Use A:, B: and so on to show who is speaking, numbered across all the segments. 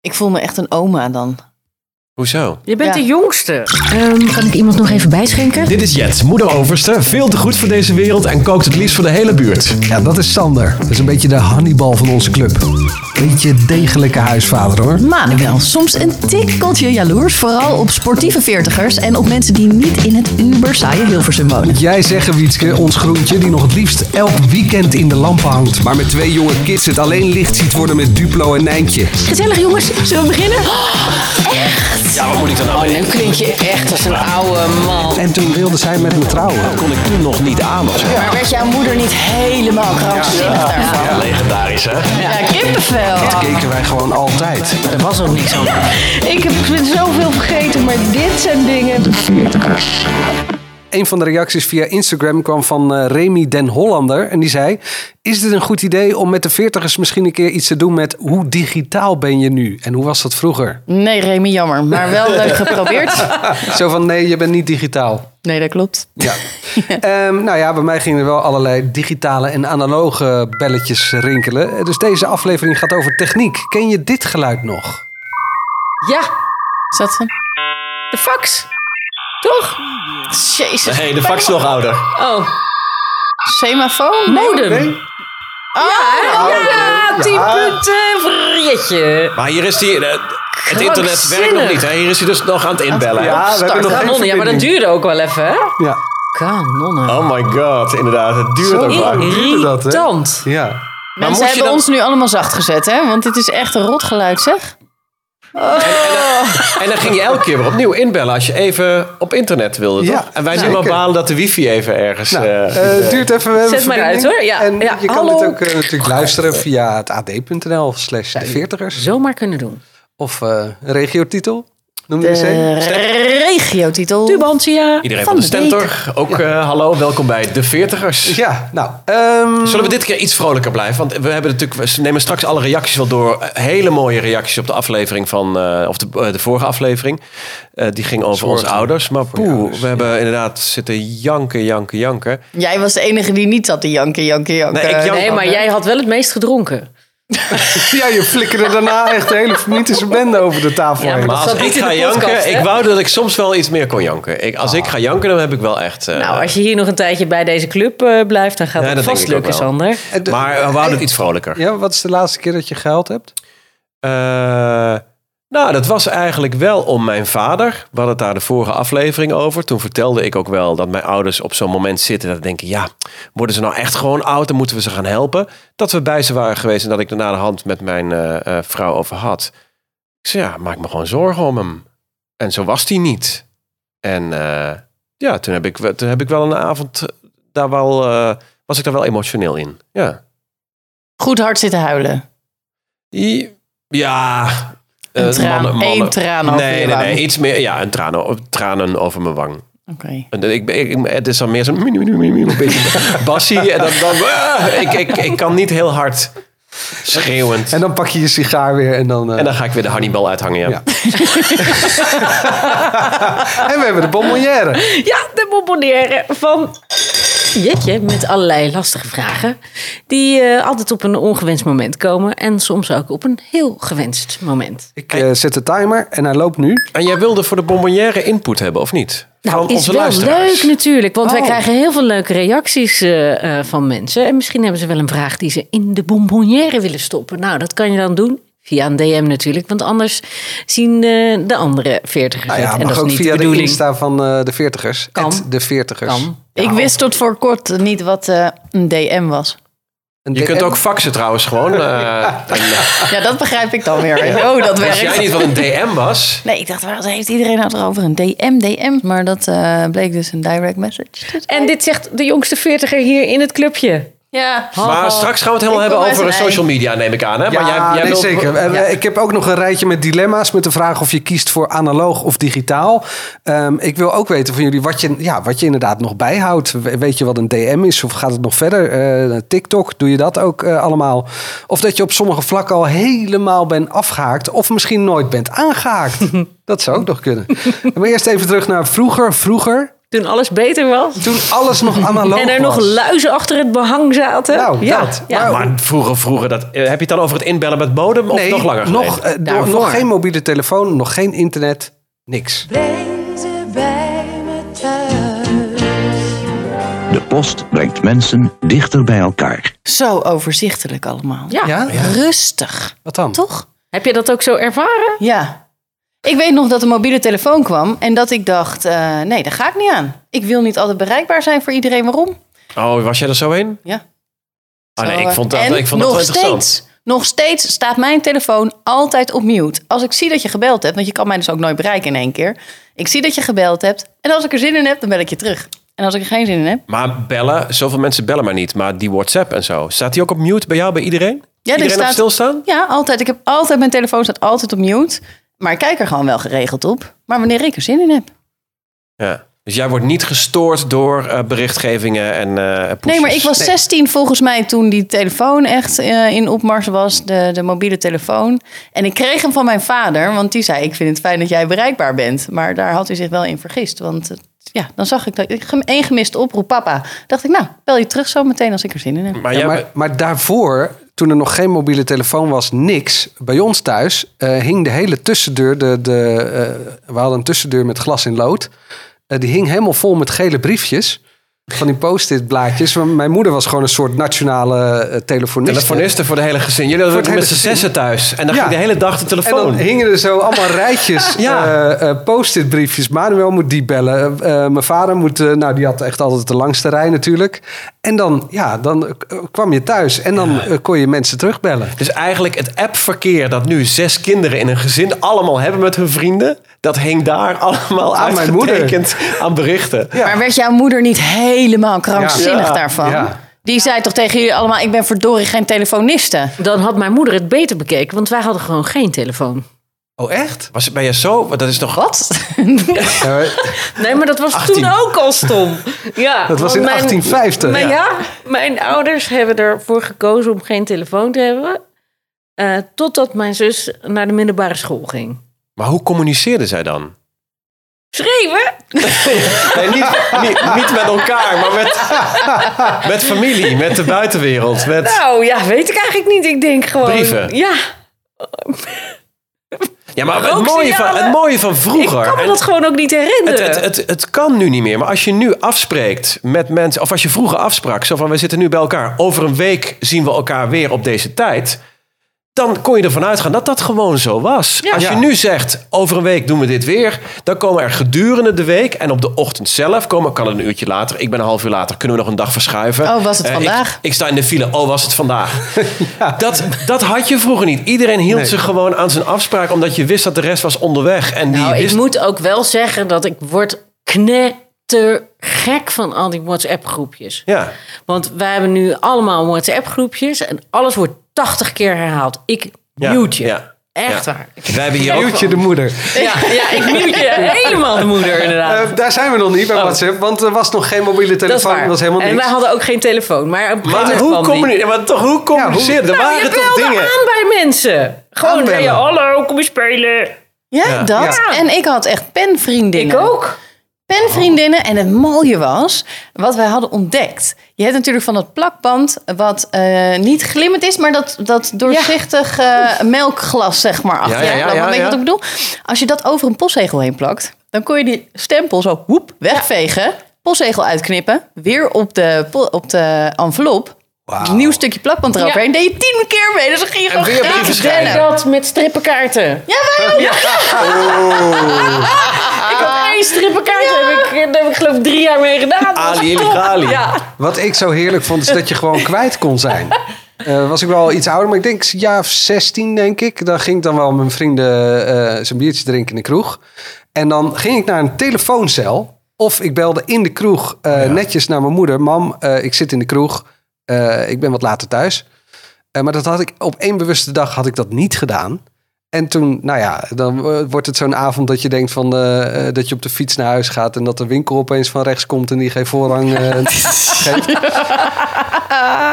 A: Ik voel me echt een oma dan.
B: Hoezo?
C: Je bent
A: Ja.
C: de jongste.
D: Ehm, kan ik iemand nog even bijschenken?
E: Dit is Jet, moederoverste, veel te goed voor deze wereld en kookt het liefst voor de hele buurt.
F: Ja, dat is Sander. Dat is een beetje de Hannibal van onze club. Beetje degelijke huisvader hoor.
A: Hm?
D: Manuel, soms een tikkeltje jaloers, vooral op sportieve veertigers en op mensen die niet in het uber saaie Hilversum wonen.
F: Jij zeggen, Wietske, ons groentje die nog het liefst elk weekend in de lampen hangt.
G: Maar met twee jonge kids het alleen licht ziet worden met Duplo en Nijntje.
D: Gezellig jongens, zullen we beginnen?
C: Oh,
B: Ja, wat moet ik dan nou
C: Nu klink je echt als een oude man.
F: En toen wilde zij met me trouwen.
B: Kon ik toen nog niet aan of zo?
A: Maar werd jouw moeder niet helemaal krankzinnig daarvan?
B: Ja, legendarisch hè?
D: Ja, kippenvel.
F: Keken wij gewoon altijd.
C: Er was ook niks aan.
H: Ik heb zoveel vergeten, maar dit zijn dingen.
G: Een van de reacties via Instagram kwam van eh, Remy Den Hollander. En die zei: Is dit een goed idee om met de veertigers misschien een keer iets te doen met hoe digitaal ben je nu? En hoe was dat vroeger?
A: Nee, Remy, jammer. Maar wel leuk geprobeerd.
G: Zo van: Nee, je bent niet digitaal.
A: Nee, dat klopt.
G: Ja. Ehm, nou ja, bij mij gingen er wel allerlei digitale en analoge belletjes rinkelen. Dus deze aflevering gaat over techniek. Ken je dit geluid nog?
C: Oh Ja,
A: Is dat hem?
C: de fax. Toch?
A: Jezus.
B: Nee, de fax is nog ouder.
C: Oh,
A: Semafoon?
C: modem. ja, ja, tien punten. Vrietje.
B: Maar hier is die... eh, het internet werkt nog
C: Krankzinnig.
B: niet hè? Hier is hij dus nog aan het inbellen.
G: we hebben nog
C: Kanonnen,
G: geen
C: ja, maar dat
G: verbinding.
C: duurde ook wel even, hè?
G: Ja.
C: Kanonnen.
B: Oh my god, inderdaad. Het duurt ook lang.
G: duurde dat, hè?
C: Irritant.
G: Ja.
B: Maar
A: Mensen
B: moet je
A: hebben
B: dan...
A: ons nu allemaal zacht gezet, hè? Want dit is echt een rotgeluid, zeg.
B: En dan ging je elke keer weer opnieuw inbellen als je even op internet wilde, toch?
G: Ja,
B: en wij nu
G: zeker.
B: maar balen dat de wifi even ergens...
G: Nou,
B: eh,
G: eh, het duurt even. we hebben
C: Zet maar
G: verbinding.
C: uit, hoor. Ja,
G: En
C: ja,
G: je kan
C: hallo.
G: dit ook eh, natuurlijk luisteren via het ad.nl slash de veertigers.
C: Zomaar kunnen doen.
G: Of eh, een regiotitel. Noem je eens
C: Eh,
A: De
G: een.
A: regiotitel.
C: Tubantia.
B: Iedereen van de Stentor, ook eh, hallo, welkom bij de Veertigers.
G: Ja, nou. ehm,
B: Zullen we dit keer iets vrolijker blijven? Want we, hebben natuurlijk, we nemen straks alle reacties wel door. Hele mooie reacties op de aflevering van, eh, of de, eh, de vorige aflevering. Eh, die ging over onze ouders. Maar poeh, we hebben inderdaad zitten janken, janken, janken.
A: Jij was de enige die niet zat te janken, janken, janken.
B: Nee, ik jank-
C: Nee, maar jij had wel het meest gedronken.
G: ja, je flikkerde daarna echt de hele mythische bende over de tafel
C: Ja, maar
G: heen.
B: Maar
C: Dat
B: als
C: zat
B: ik
C: niet in
B: ga
C: de podcast,
B: janken,
C: hè?
B: ik wou dat ik soms wel iets meer kon janken. Ik, als ik ga janken, dan heb ik wel echt... eh,
C: Nou, als je hier nog een tijdje bij deze club eh, blijft, dan gaat
B: Ja,
C: het
B: dat denk
C: vast
B: ik ook
C: lukken,
B: wel.
C: Sander.
G: En Eh, de-
B: maar eh, we wouden het iets vrolijker.
G: Ja, wat is de laatste keer dat je gehuild hebt?
B: Eh, nou, dat was eigenlijk wel om mijn vader. We hadden het daar de vorige aflevering over. Toen vertelde ik ook wel dat mijn ouders op zo'n moment zitten. Dat ze denken, ja, worden ze nou echt gewoon oud? Dan moeten we ze gaan helpen. Dat we bij ze waren geweest en dat ik er na de hand met mijn eh, eh, vrouw over had. Ik zei, ja, maak me gewoon zorgen om hem. En zo was hij niet. En eh, ja, toen heb, ik, we- toen heb ik wel een avond eh, daar wel... eh, was ik daar wel emotioneel in, ja.
A: Goed hard zitten huilen.
B: I- Ja.
A: Een
B: eh,
A: traan. Eén traan over
B: nee,
A: je
B: nee,
A: wang.
B: nee, iets meer. Ja, een traan, o- tranen over mijn wang.
A: Oké.
B: En Ik, ben- ik, het is dan meer zo'n een beetje bassie. En dan, dan, ah, ik, ik, ik kan niet heel hard schreeuwend.
G: En dan pak je je sigaar weer en dan... eh,
B: En dan ga ik weer de Hannibal uithangen. Ja.
G: Ja. en we hebben de bonbonnière.
C: Ja, de bonbonnière van Jetje met allerlei lastige vragen. Die eh, altijd op een ongewenst moment komen. En soms ook op een heel gewenst moment.
G: Ik eh, zet de timer en hij loopt nu.
B: En jij wilde voor de bonbonnière input hebben, of niet?
A: Nou,
B: Van
C: Nou, is wel leuk natuurlijk. Want wij
G: Oh.
C: krijgen heel veel leuke reacties eh, eh, van mensen. En misschien hebben ze wel een vraag die ze in de bonbonnière willen stoppen. Nou, dat kan je dan doen. Via een DM natuurlijk. Want anders zien eh, de andere veertigers
B: Ah
G: Nou ja,
C: het. En
G: mag
C: dat
G: ook
C: is niet de
G: via de,
C: bedoeling.
G: Insta van eh, de veertigers.
C: Kan.
G: At De veertigers.
C: Kan.
A: Ik wist tot voor kort niet wat eh, een DM was.
G: Een
B: Je kunt
G: DM.
B: ook faxen trouwens gewoon. eh, en, eh,
A: Ja, dat begrijp ik dan weer. Oh, dat
B: wist jij
A: werkt.
B: niet wat een DM was?
A: Nee, ik dacht, waar heeft iedereen het erover? Een DM, DM. Maar dat eh, bleek dus een direct message.
C: En dit zegt de jongste veertiger hier in het clubje.
A: Ja.
B: Maar straks gaan we het
A: Ik
B: helemaal
A: kom
B: hebben
A: uit
B: over
A: een ei.
B: social media, neem ik aan. Hè?
G: Ja,
B: maar jij, jij
G: nee,
B: wilt-
G: zeker. En, eh, Ik heb ook nog een rijtje met dilemma's met de vraag of je kiest voor analoog of digitaal. Ehm, ik wil ook weten van jullie wat je, ja, wat je inderdaad nog bijhoudt. We- Weet je wat een DM is of gaat het nog verder? Eh, TikTok, doe je dat ook eh, allemaal? Of dat je op sommige vlakken al helemaal bent afgehaakt of misschien nooit bent aangehaakt. dat zou ook nog kunnen. maar eerst even terug naar vroeger. Vroeger
C: Toen alles beter was.
G: Toen alles nog analoog
C: en er
G: was.
C: nog luizen achter het behang zaten.
G: Nou,
C: ja,
G: dat.
C: Ja.
G: Maar-
B: Maar vroeger, vroeger, dat, eh, heb je het dan over het inbellen met modem of
G: Nee,
B: nog langer geleden?
G: nog, eh, door-
C: Daarvoor.
G: nog geen mobiele telefoon, nog geen internet, niks.
I: De post brengt mensen dichter bij elkaar.
A: Zo overzichtelijk allemaal.
C: Ja.
G: Ja?
A: Rustig,
G: Wat dan?
A: toch?
C: Heb je dat ook zo ervaren?
A: Ja. Ik weet nog dat de mobiele telefoon kwam en dat ik dacht, eh, nee, daar ga ik niet aan. Ik wil niet altijd bereikbaar zijn voor iedereen. Waarom?
B: Oh, was jij er zo in?
A: Ja.
B: Ah, nee,
A: Zo,
B: ik vond dat,
A: Eh, en
B: ik vond dat
A: nog
B: wel interessant.
A: steeds, nog steeds staat mijn telefoon altijd op mute. Als ik zie dat je gebeld hebt, want je kan mij dus ook nooit bereiken in één keer. Ik zie dat je gebeld hebt en als ik er zin in heb, dan bel ik je terug. En als ik er geen zin in heb,
B: Maar bellen, zoveel mensen bellen maar niet. Maar die WhatsApp en zo, staat die ook op mute bij jou, bij iedereen?
A: Ja, er
B: iedereen op
A: staat-
B: stilstaan?
A: ja, altijd. Ik heb altijd mijn telefoon staat altijd op mute. Maar ik kijk er gewoon wel geregeld op. Maar wanneer ik er zin in heb.
B: Ja. Dus jij wordt niet gestoord door eh, berichtgevingen en eh pushes?
A: Nee, maar ik was
G: Nee.
A: 16 volgens mij toen die telefoon echt eh, in opmars was, de, de mobiele telefoon. En ik kreeg hem van mijn vader, want die zei: Ik vind het fijn dat jij bereikbaar bent. Maar daar had hij zich wel in vergist. Want eh, ja, dan zag ik dat ik gem- één gemiste oproep, papa. Dacht ik, nou, bel je terug zo meteen als ik er zin in heb.
B: Maar
G: Ja,
B: jij-
G: maar, maar daarvoor, toen er nog geen mobiele telefoon was, niks. Bij ons thuis eh, hing de hele tussendeur, de, de, eh, we hadden een tussendeur met glas in lood. Eh, die hing helemaal vol met gele briefjes. Van die post-it blaadjes. Want Mijn moeder was gewoon een soort nationale eh, telefoniste.
B: telefonisten voor de hele gezin. Jullie
G: Voor het
B: hadden met z'n
G: hele gezin.
B: zessen thuis. En dan
G: Ja.
B: ging de hele dag de
G: En dan
B: telefoon.
G: hingen er zo allemaal rijtjes
B: Ja.
G: eh, eh, post-it briefjes. Manuel moet die bellen. Eh, eh, mijn vader moet... eh, nou, die had echt altijd de langste rij natuurlijk. En dan, ja, dan eh, kwam je thuis. En dan eh, kon je mensen terugbellen.
B: Dus eigenlijk het appverkeer dat nu zes kinderen in een gezin allemaal hebben met hun vrienden, dat hing daar allemaal
G: Aan mijn moeder.
B: uitgetekend aan berichten.
A: Maar werd jouw moeder niet helemaal krankzinnig
B: Ja.
A: daarvan?
G: Ja.
A: Die zei toch tegen jullie allemaal: Ik ben verdorie geen telefoniste.
C: Dan had mijn moeder het beter bekeken, want wij hadden gewoon geen telefoon.
G: Oh, echt?
B: Was, ben je zo? Dat is toch
A: Wat?
C: Nee, maar dat was
B: 18.
C: toen ook al stom. Ja,
G: Dat was
C: want
G: in
C: mijn-
G: 1850.
C: Maar ja.
G: Ja.
C: mijn ouders hebben ervoor gekozen om geen telefoon te hebben. eh, totdat mijn zus naar de middelbare school ging.
B: Maar hoe communiceerden zij dan?
C: Schreeuwen?
B: Nee, niet, niet, niet met elkaar, maar met, met familie, met de buitenwereld. Met,
C: Nou ja, weet ik eigenlijk niet. Ik denk gewoon.
B: Brieven.
C: Ja,
B: ja, maar het
C: rooksignalen.
B: mooie, van, het mooie van
C: ik
B: vroeger.
C: kan me
B: en
C: dat gewoon ook niet
B: het,
C: herinneren.
B: het, het, het kan nu niet meer, maar als je nu afspreekt met mensen, of als je vroeger afsprak, zo van we zitten nu bij elkaar, over een week zien we elkaar weer op deze tijd. Dan kon je ervan uitgaan dat dat gewoon zo was. Als je nu zegt, over een week doen we dit weer, dan komen er gedurende de week en op de ochtend zelf komen, kan het een uurtje later, ik ben een half uur later, kunnen we nog een dag verschuiven.
A: Oh, was het
B: Eh,
A: vandaag?
B: Ik, ik sta in de file, oh was het vandaag. dat, dat had je vroeger niet. Iedereen hield zich gewoon aan zijn afspraak, omdat je wist dat de rest was onderweg. En die
C: Nou, ik
B: wist
C: moet ook wel zeggen dat ik word knettergek van al die WhatsApp-groepjes.
B: Ja.
C: Want wij hebben nu allemaal WhatsApp-groepjes en alles wordt 80 keer herhaald. Ik
B: Ja,
C: mute je.
B: ja,
C: Echt
B: ja.
C: waar.
B: Wij hebben hier ook
G: Duwtje de moeder.
C: Ja, ja, ik mute je. Helemaal de moeder, inderdaad.
G: Eh, daar zijn we nog niet bij WhatsApp, want er was nog geen mobiele
C: Oh. dat is
G: telefoon.
C: waar.
G: was helemaal
C: en
G: niks.
C: wij hadden ook geen telefoon. Maar, op een gegeven
B: Maar
C: moment
B: hoe,
C: kwam die.
B: communi- maar toch, hoe communiceerde? er
C: Nou,
B: waren
C: je
B: toch
C: belde
B: dingen?
C: aan bij mensen. Gewoon zei je,
G: Aanbellen.
C: hallo, kom eens spelen.
A: Ja, dat.
C: Ja.
A: En ik had echt penvriendinnen.
C: Ik ook.
A: penvriendinnen. En het mooie was, wat wij hadden ontdekt. Je hebt natuurlijk van dat plakband wat eh, niet glimmend is, maar dat, dat doorzichtig eh, melkglas, zeg maar, achter je
B: Ja, ja, ja,
A: plakt.
B: ja,
A: Weet je
B: ja.
A: wat ik bedoel? Als je dat over een postzegel heen plakt, dan kon je die stempel zo woep, wegvegen, postzegel uitknippen, weer op de, po- op de envelop. Een nieuw stukje plakband eroverheen. Deed je tien keer mee. Dus dan ging je gewoon
B: weer brieven
A: gratis
B: schrijven.
A: rennen.
C: Dat met strippenkaarten.
A: Ja, wij ook.
C: Oh. Ik had één strippenkaart, daar heb ik, daar heb ik geloof ik drie jaar mee gedaan. Dat was
B: Ali
C: top.
B: Emigrali.
C: Ja.
G: Wat ik zo heerlijk vond, is dat je gewoon kwijt kon zijn. Eh, was ik wel iets ouder, maar ik denk een jaar of 16, denk ik. Dan ging ik dan wel met mijn vrienden eh zijn biertje drinken in de kroeg. En dan ging ik naar een telefooncel. Of ik belde in de kroeg eh, netjes naar mijn moeder. Mam, eh, ik zit in de kroeg. Eh, ik ben wat later thuis. Eh, maar dat had ik op één bewuste dag had ik dat niet gedaan. En toen, nou ja, dan eh, wordt het zo'n avond dat je denkt van eh, eh, dat je op de fiets naar huis gaat en dat de winkel opeens van rechts komt en die geen voorrang eh, geeft.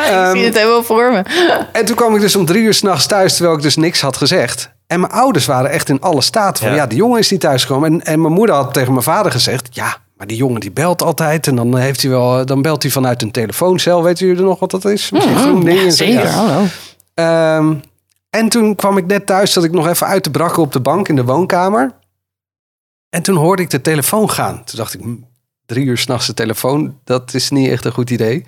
A: Ik
B: Ehm,
A: zie het helemaal voor me.
G: En toen kwam ik dus om drie uur s'nachts thuis, terwijl ik dus niks had gezegd. En mijn ouders waren echt in alle staat van, ja,
B: Ja.
G: die jongen is niet thuisgekomen. En, en mijn moeder had tegen mijn vader gezegd, ja, maar Maar die jongen die belt altijd en dan, heeft hij wel, dan belt hij vanuit een telefooncel. Weet jullie nog wat dat is? Misschien groen ding. en zo.
A: Zeker,
G: Ja.
A: hallo.
G: Ehm, en toen kwam ik net thuis, zat ik nog even uit te brakken op de bank in de woonkamer. En toen hoorde ik de telefoon gaan. Toen dacht ik, "Hm, drie uur s'nachts de telefoon, dat is niet echt een goed idee.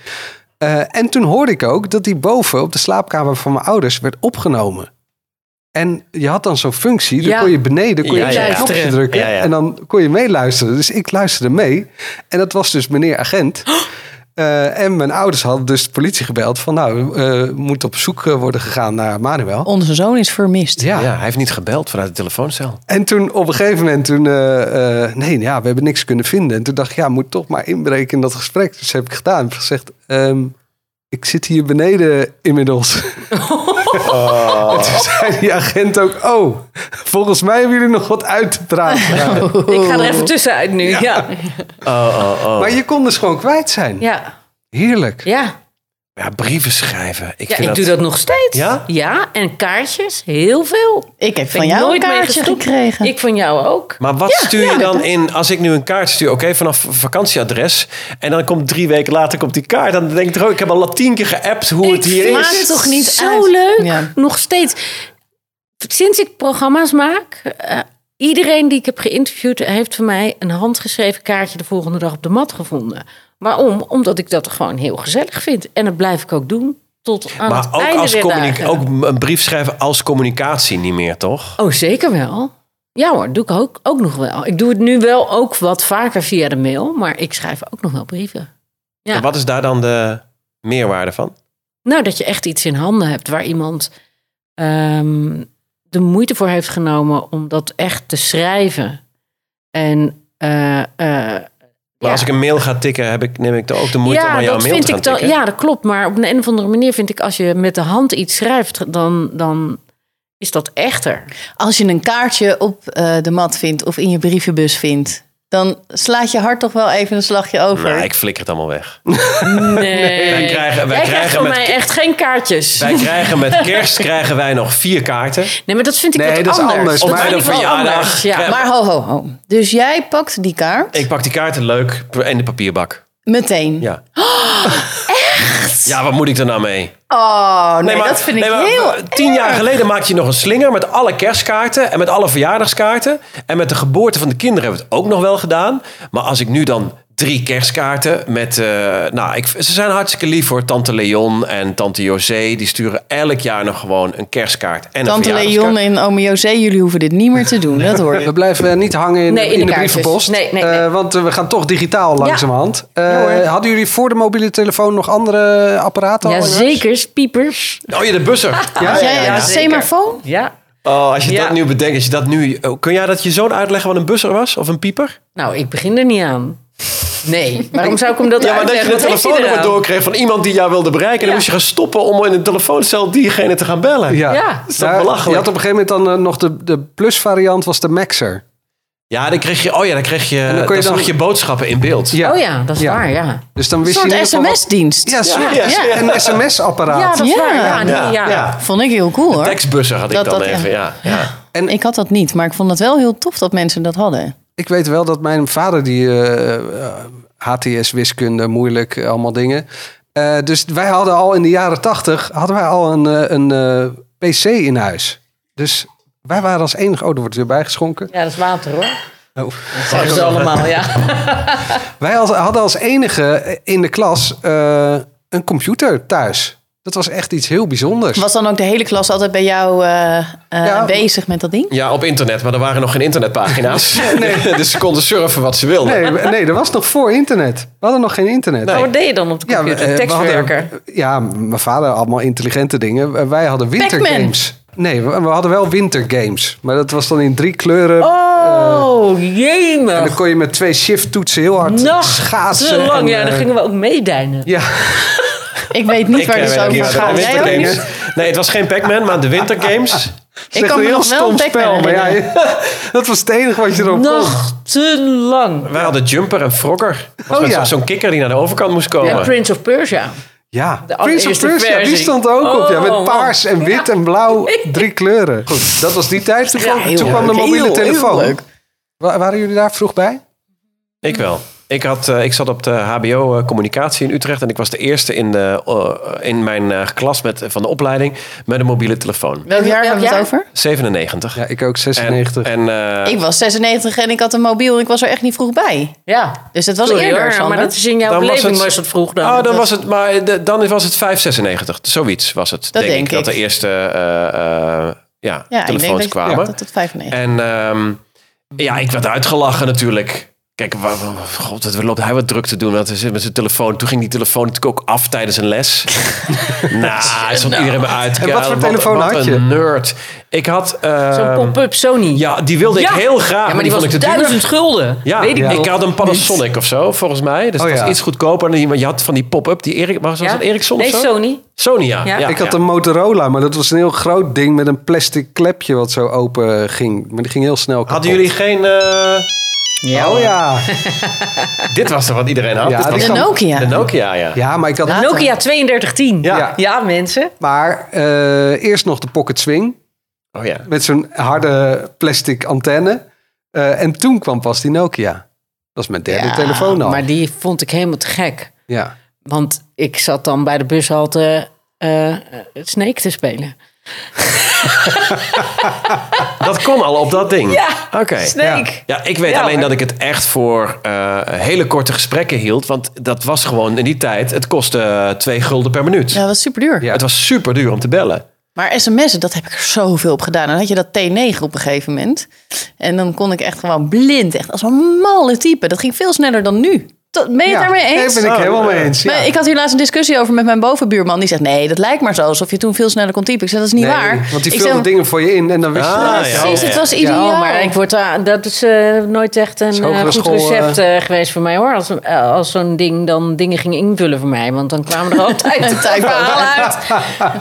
G: Eh, en toen hoorde ik ook dat die boven op de slaapkamer van mijn ouders werd opgenomen. En je had dan zo'n functie, dan
C: Ja.
G: kon je beneden kon je
B: Ja,
G: op
B: ja,
G: zo'n
B: ja.
G: knopje drukken.
B: Ja, ja.
G: En dan kon je meeluisteren. Dus ik luisterde mee. En dat was dus meneer agent. Eh, en mijn ouders hadden dus de politie gebeld van nou, eh, moet op zoek eh, worden gegaan naar Manuel.
A: Onze zoon is vermist.
G: Ja.
B: Ja, hij heeft niet gebeld vanuit de telefooncel.
G: En toen op een gegeven moment, toen, eh, eh, nee, ja, we hebben niks kunnen vinden. En toen dacht ik, ja, moet toch maar inbreken in dat gesprek. Dus heb ik gedaan. Ik heb gezegd, ehm, ik zit hier beneden inmiddels. Oh. En toen zei die agent ook, oh, volgens mij hebben jullie nog wat uit te praten.
C: Ik ga er even tussenuit nu. Oh. Ja. Ja.
G: Maar je kon dus gewoon kwijt zijn.
C: Ja.
G: Heerlijk.
C: Ja.
B: Ja, brieven schrijven. Ik,
C: ik
B: vind
C: doe dat nog steeds.
B: Ja?
C: ja. En kaartjes. Heel veel.
A: Ik heb
C: Ben
A: van jou
C: nooit
A: een
C: mee
A: kaartje
C: gestopt.
A: gekregen.
C: Ik van jou ook.
B: Maar wat
C: Ja,
B: stuur je
C: ja,
B: dan in als ik nu een kaart stuur? Oké, vanaf vakantieadres. En dan komt drie weken later komt die kaart. Dan denk ik, oh, ik heb al tien keer geappt hoe het hier
C: vind
B: is.
A: maakt het toch niet
C: zo
A: uit?
C: leuk.
A: Ja.
C: Nog steeds. Sinds ik programma's maak, eh, iedereen die ik heb geïnterviewd, heeft van mij een handgeschreven kaartje de volgende dag op de mat gevonden. Waarom? Omdat ik dat gewoon heel gezellig vind. En dat blijf ik ook doen. Tot aan
B: Maar
C: het
B: ook,
C: einde
B: als
C: der
B: communi-
C: dagen.
B: ook een brief schrijven als communicatie niet meer, toch?
C: Oh, zeker wel. Ja hoor, doe ik ook, ook nog wel. Ik doe het nu wel ook wat vaker via de mail, maar ik schrijf ook nog wel brieven. Ja.
B: En wat is daar dan de meerwaarde van?
C: Nou, dat je echt iets in handen hebt waar iemand ehm, de moeite voor heeft genomen om dat echt te schrijven. En eh, eh,
B: Maar als ik een mail ga tikken, heb ik, neem ik dan ook de moeite om aan jouw
C: dat
B: mail
C: vind
B: te gaan
C: ik dan,
B: tikken?
C: ja, dat klopt. Maar op een, een of andere manier vind ik als je met de hand iets schrijft, dan, dan is dat echter.
A: Als je een kaartje op eh, de mat vindt of in je brievenbus vindt, dan slaat je hart toch wel even een slagje over.
B: Nou, ik flikker het allemaal weg.
C: Nee.
B: Wij krijgen- wij
C: Jij
B: krijgen
C: krijgt van
B: met-
C: mij echt geen kaartjes.
B: Wij krijgen met kerst krijgen wij nog vier kaarten.
C: Nee, maar dat vind ik
G: Nee,
C: wat
G: dat is
C: anders.
G: anders.
C: Dat
G: Op
C: vind
B: mijn
C: ik wel
B: verjaardag
C: anders. Ja.
B: krijg-
A: Maar ho, ho, ho. Dus jij pakt die kaart
B: Ik pak die kaarten leuk in de papierbak.
A: meteen.
B: Ja. echt? Ja, wat moet ik er nou mee?
A: Oh, nee, dat vind ik
B: nee, maar
A: heel...
B: Tien jaar geleden maakte je nog een slinger met alle kerstkaarten en met alle verjaardagskaarten. En met de geboorte van de kinderen hebben we het ook nog wel gedaan. Maar als ik nu dan drie kerstkaarten met... eh, nou, ik, ze zijn hartstikke lief voor Tante Leon en Tante José. Die sturen elk jaar nog gewoon een kerstkaart en een
A: Tante
B: verjaardagskaart.
A: Leon en ome José, jullie hoeven dit niet meer te doen. Dat hoor
G: We
A: ik.
G: blijven eh, niet hangen in,
C: Nee,
G: in,
C: in de
G: de,
C: kaartjes.
G: brievenpost.
C: Nee, nee, nee.
G: Eh, want eh, we gaan toch digitaal langzamerhand. Eh,
C: Ja, hoor.
G: hadden jullie voor de mobiele telefoon nog andere apparaten? al
C: Ja,
G: in huis?
C: zeker. Piepers.
B: Oh ja, de busser.
A: Had jij een
C: zeker.
A: semafoon?
C: Ja.
B: Oh, als je
C: Ja.
B: dat nu bedenkt, als je dat nu... oh, kun jij dat je zoon uitleggen wat een busser was? Of een pieper?
C: Nou, ik begin er niet aan. Nee, waarom zou ik hem dat
B: Ja, maar dat je
C: uitleggen?
B: de
C: Wat heeft hij
B: telefoonnummer
C: eraan?
B: doorkreeg van iemand die jou wilde bereiken. En dan
C: Ja.
B: moest je gaan stoppen om in een telefooncel diegene te gaan bellen.
G: Ja.
C: Ja.
B: Dat is toch
G: Nou,
B: belachelijk?
G: Je had op een gegeven moment dan eh, nog de, de plus variant was de Maxer.
B: Ja, dan kreeg je, oh ja, dan kreeg je,
G: dan
B: dan,
G: kon je dan-
B: zag je boodschappen in beeld.
G: Ja.
C: Oh ja, dat is
G: Ja.
C: waar, ja.
G: Dus dan
A: Een
G: wist je in
A: soort
G: ieder geval wat-
A: sms-dienst.
G: Ja,
B: Ja,
G: sorry.
B: ja, ja.
G: een sms-apparaat.
C: Ja, dat is
A: Ja.
C: waar. Ja, nee,
B: Ja.
C: ja.
G: Ja.
A: Vond ik heel cool hoor.
B: Tekstbussen had ik
A: Dat-
B: dan
A: dat- ja.
B: even, ja. ja.
G: En-
A: Ik had dat niet, maar ik vond het wel heel tof dat mensen dat hadden.
G: Ik weet wel dat mijn vader die eh, eh, HTS wiskunde moeilijk eh, allemaal dingen. Eh, dus wij hadden al in de jaren tachtig hadden wij al een, eh, een eh, PC in huis. Dus wij waren als enige. Oh, er wordt weer bijgeschonken.
C: Ja, dat is water hoor.
G: Oh.
C: Dat is allemaal, ja.
G: Wij als- hadden als enige in de klas eh, een computer thuis. Dat was echt iets heel bijzonders.
A: Was dan ook de hele klas altijd bij jou eh, eh,
G: Ja.
A: bezig met dat ding?
B: Ja, op internet, maar er waren nog geen internetpagina's. dus ze konden surfen wat ze wilden.
G: Nee, we- nee, dat was nog voor internet. We hadden nog geen internet.
C: Maar Wat deed je dan op de
G: Ja, we-
C: computer?
G: eh, we hadden-
C: Tekstwerker.
G: ja, mijn vader had allemaal intelligente dingen. Eh, Wij hadden wintergames. Nee, we, we hadden wel wintergames. Maar dat was dan in drie kleuren.
C: Oh,
G: En
C: jemig.
G: dan kon je met twee shift toetsen heel hard
C: Nog
G: schaatsen.
C: te lang.
G: en,
C: Ja, dan
G: eh,
C: gingen we ook meedijnen.
G: ja.
A: Ik weet niet
B: Ik,
A: waar
B: eh,
A: dit
B: weet ook niet
A: over
B: waar de
A: gaat. Jij ook
B: Winter
A: niet?
B: Games- Nee, het was geen Pac-Man, maar de Winter Games.
A: Ik kan
G: een
A: me
G: heel
A: nog wel
G: stom
A: Pac-Man
G: spel. Maar ja, dat was het enige wat je erop kon.
C: Nog te lang.
B: Wij hadden Jumper en Frogger. Was
G: Oh
B: met
G: ja.
B: zo'n kikker die naar de overkant moest komen.
C: Ja, Prince of Persia.
G: Ja,
C: De
G: Prince of
C: allereerste
G: Persia, die
C: versie.
G: stond er ook op. Ja,
C: Oh,
G: met paars en wit en blauw. Drie kleuren. Goed, dat was die tijd. Toen, kwam- toen kwam de mobiele telefoon. Wa- waren jullie daar vroeg bij?
B: Ik wel. Ik, had, eh, ik zat op de HBO eh, Communicatie in Utrecht en ik was de eerste in, de, eh, in mijn eh, klas met, van de opleiding met een mobiele telefoon.
A: Welk jaar hebben we het
D: jaar?
A: over?
B: 97.
G: Ja, ik ook
B: En-
G: 96.
B: En, eh,
A: Ik was 96 en ik had een mobiel en ik was er echt niet vroeg bij.
C: Ja.
A: Dus dat was
C: Sorry
A: eerder,
C: hoor,
A: Sander.
C: maar dat is in jouw
B: Dan was
C: beleving was
B: het-
C: het, vroeg dan.
B: oh, dan
C: Dat-
B: was het, maar de- dan was het 596. Zoiets was het, denk,
A: denk
B: ik, Dat
A: ik.
B: de eerste eh, eh, ja,
A: Ja, ik denk
B: telefoons
A: dat,
B: kwamen.
A: ja, dat het 95.
B: En ehm, ja, ik werd uitgelachen natuurlijk. Kijk, wa- wa- god, wat loopt hij wat druk te doen? Want hij zit met zijn telefoon. Toen ging die telefoon natuurlijk ook af tijdens een les. nou, hij stond iedereen me uit. te
G: En wat
B: kijken.
G: voor telefoon
B: wat
G: had
B: een
G: je?
B: nerd. Ik had... ehm,
C: Zo'n pop-up Sony.
B: Ja, die wilde ik
C: Ja.
B: heel graag.
C: Ja, maar die
B: vond
C: was
B: ik te duur.
C: duizend gulden.
B: Ja,
C: Weet ik
B: ik,
C: nog.
B: had een Panasonic of zo, volgens mij. Dus
G: Oh,
B: het was
G: ja.
B: iets goedkoper. dan die- Want je had van die pop-up, die Erik, was dat
C: Ja?
B: een Ericsson
C: Nee,
B: of zo?
C: Sony.
B: Sony, ja.
C: Ja.
B: ja,
G: ik had
B: ja.
G: een Motorola, maar dat was een heel groot ding met een plastic klepje wat zo open ging. Maar die ging heel snel kapot.
B: Hadden jullie geen... eh,
C: Ja,
G: Oh ja.
B: dit was er wat iedereen had.
G: Ja,
B: Dit
G: die
B: was
A: de
G: kan-
A: Nokia.
B: de Nokia, ja.
G: Ja, maar ik had...
A: Nou.
C: Nokia 3210.
G: Ja.
C: Ja. ja, mensen.
G: Maar eh, eerst nog de Pocket Swing
B: Oh ja.
G: met zo'n harde plastic antenne. Eh, en toen kwam pas die Nokia. Dat is mijn derde
C: Ja,
G: telefoon
B: nou.
G: al.
C: Maar die vond ik helemaal te gek.
G: Ja.
C: Want ik zat dan bij de bushalte eh Snake te spelen.
B: Dat kon al op dat ding.
C: Ja,
B: Oké.
C: Snake.
B: Ja, ik weet
C: Ja,
B: alleen
C: maar-
B: dat ik het echt voor eh, hele korte gesprekken hield. Want dat was gewoon in die tijd, het kostte eh, twee gulden per minuut.
A: Ja, dat was super duur.
G: Ja.
B: Het was super duur om te bellen.
A: Maar sms'en, dat heb ik er zoveel op gedaan. Dan had je dat T9 op een gegeven moment. En dan kon ik echt gewoon blind, echt als een malle type. Dat ging veel sneller dan nu. Tot, ben je het
G: Ja,
A: daarmee
G: nee,
A: eens?
G: ben ik
B: Oh,
G: helemaal mee
B: eh,
G: eens.
A: Maar
G: ja.
A: ik had hier laatst een discussie over met mijn bovenbuurman. Die zegt, nee, dat lijkt maar zo. Alsof je toen veel sneller kon typen. Ik zeg, dat is niet
G: Nee,
A: waar.
G: Want die
A: ik
G: vulde
A: zeg,
G: dingen voor je in en dan wist je...
B: Ah, ja.
A: Precies,
B: Oh,
A: het
B: ja.
A: was ideaal.
C: Ja, maar ik word daar, dat is eh, nooit echt een
G: hogere
C: eh, goed
G: school,
C: recept eh, geweest voor mij hoor. Als, eh, als zo'n ding dan dingen ging invullen voor mij. Want dan kwamen er altijd een verhalen uit.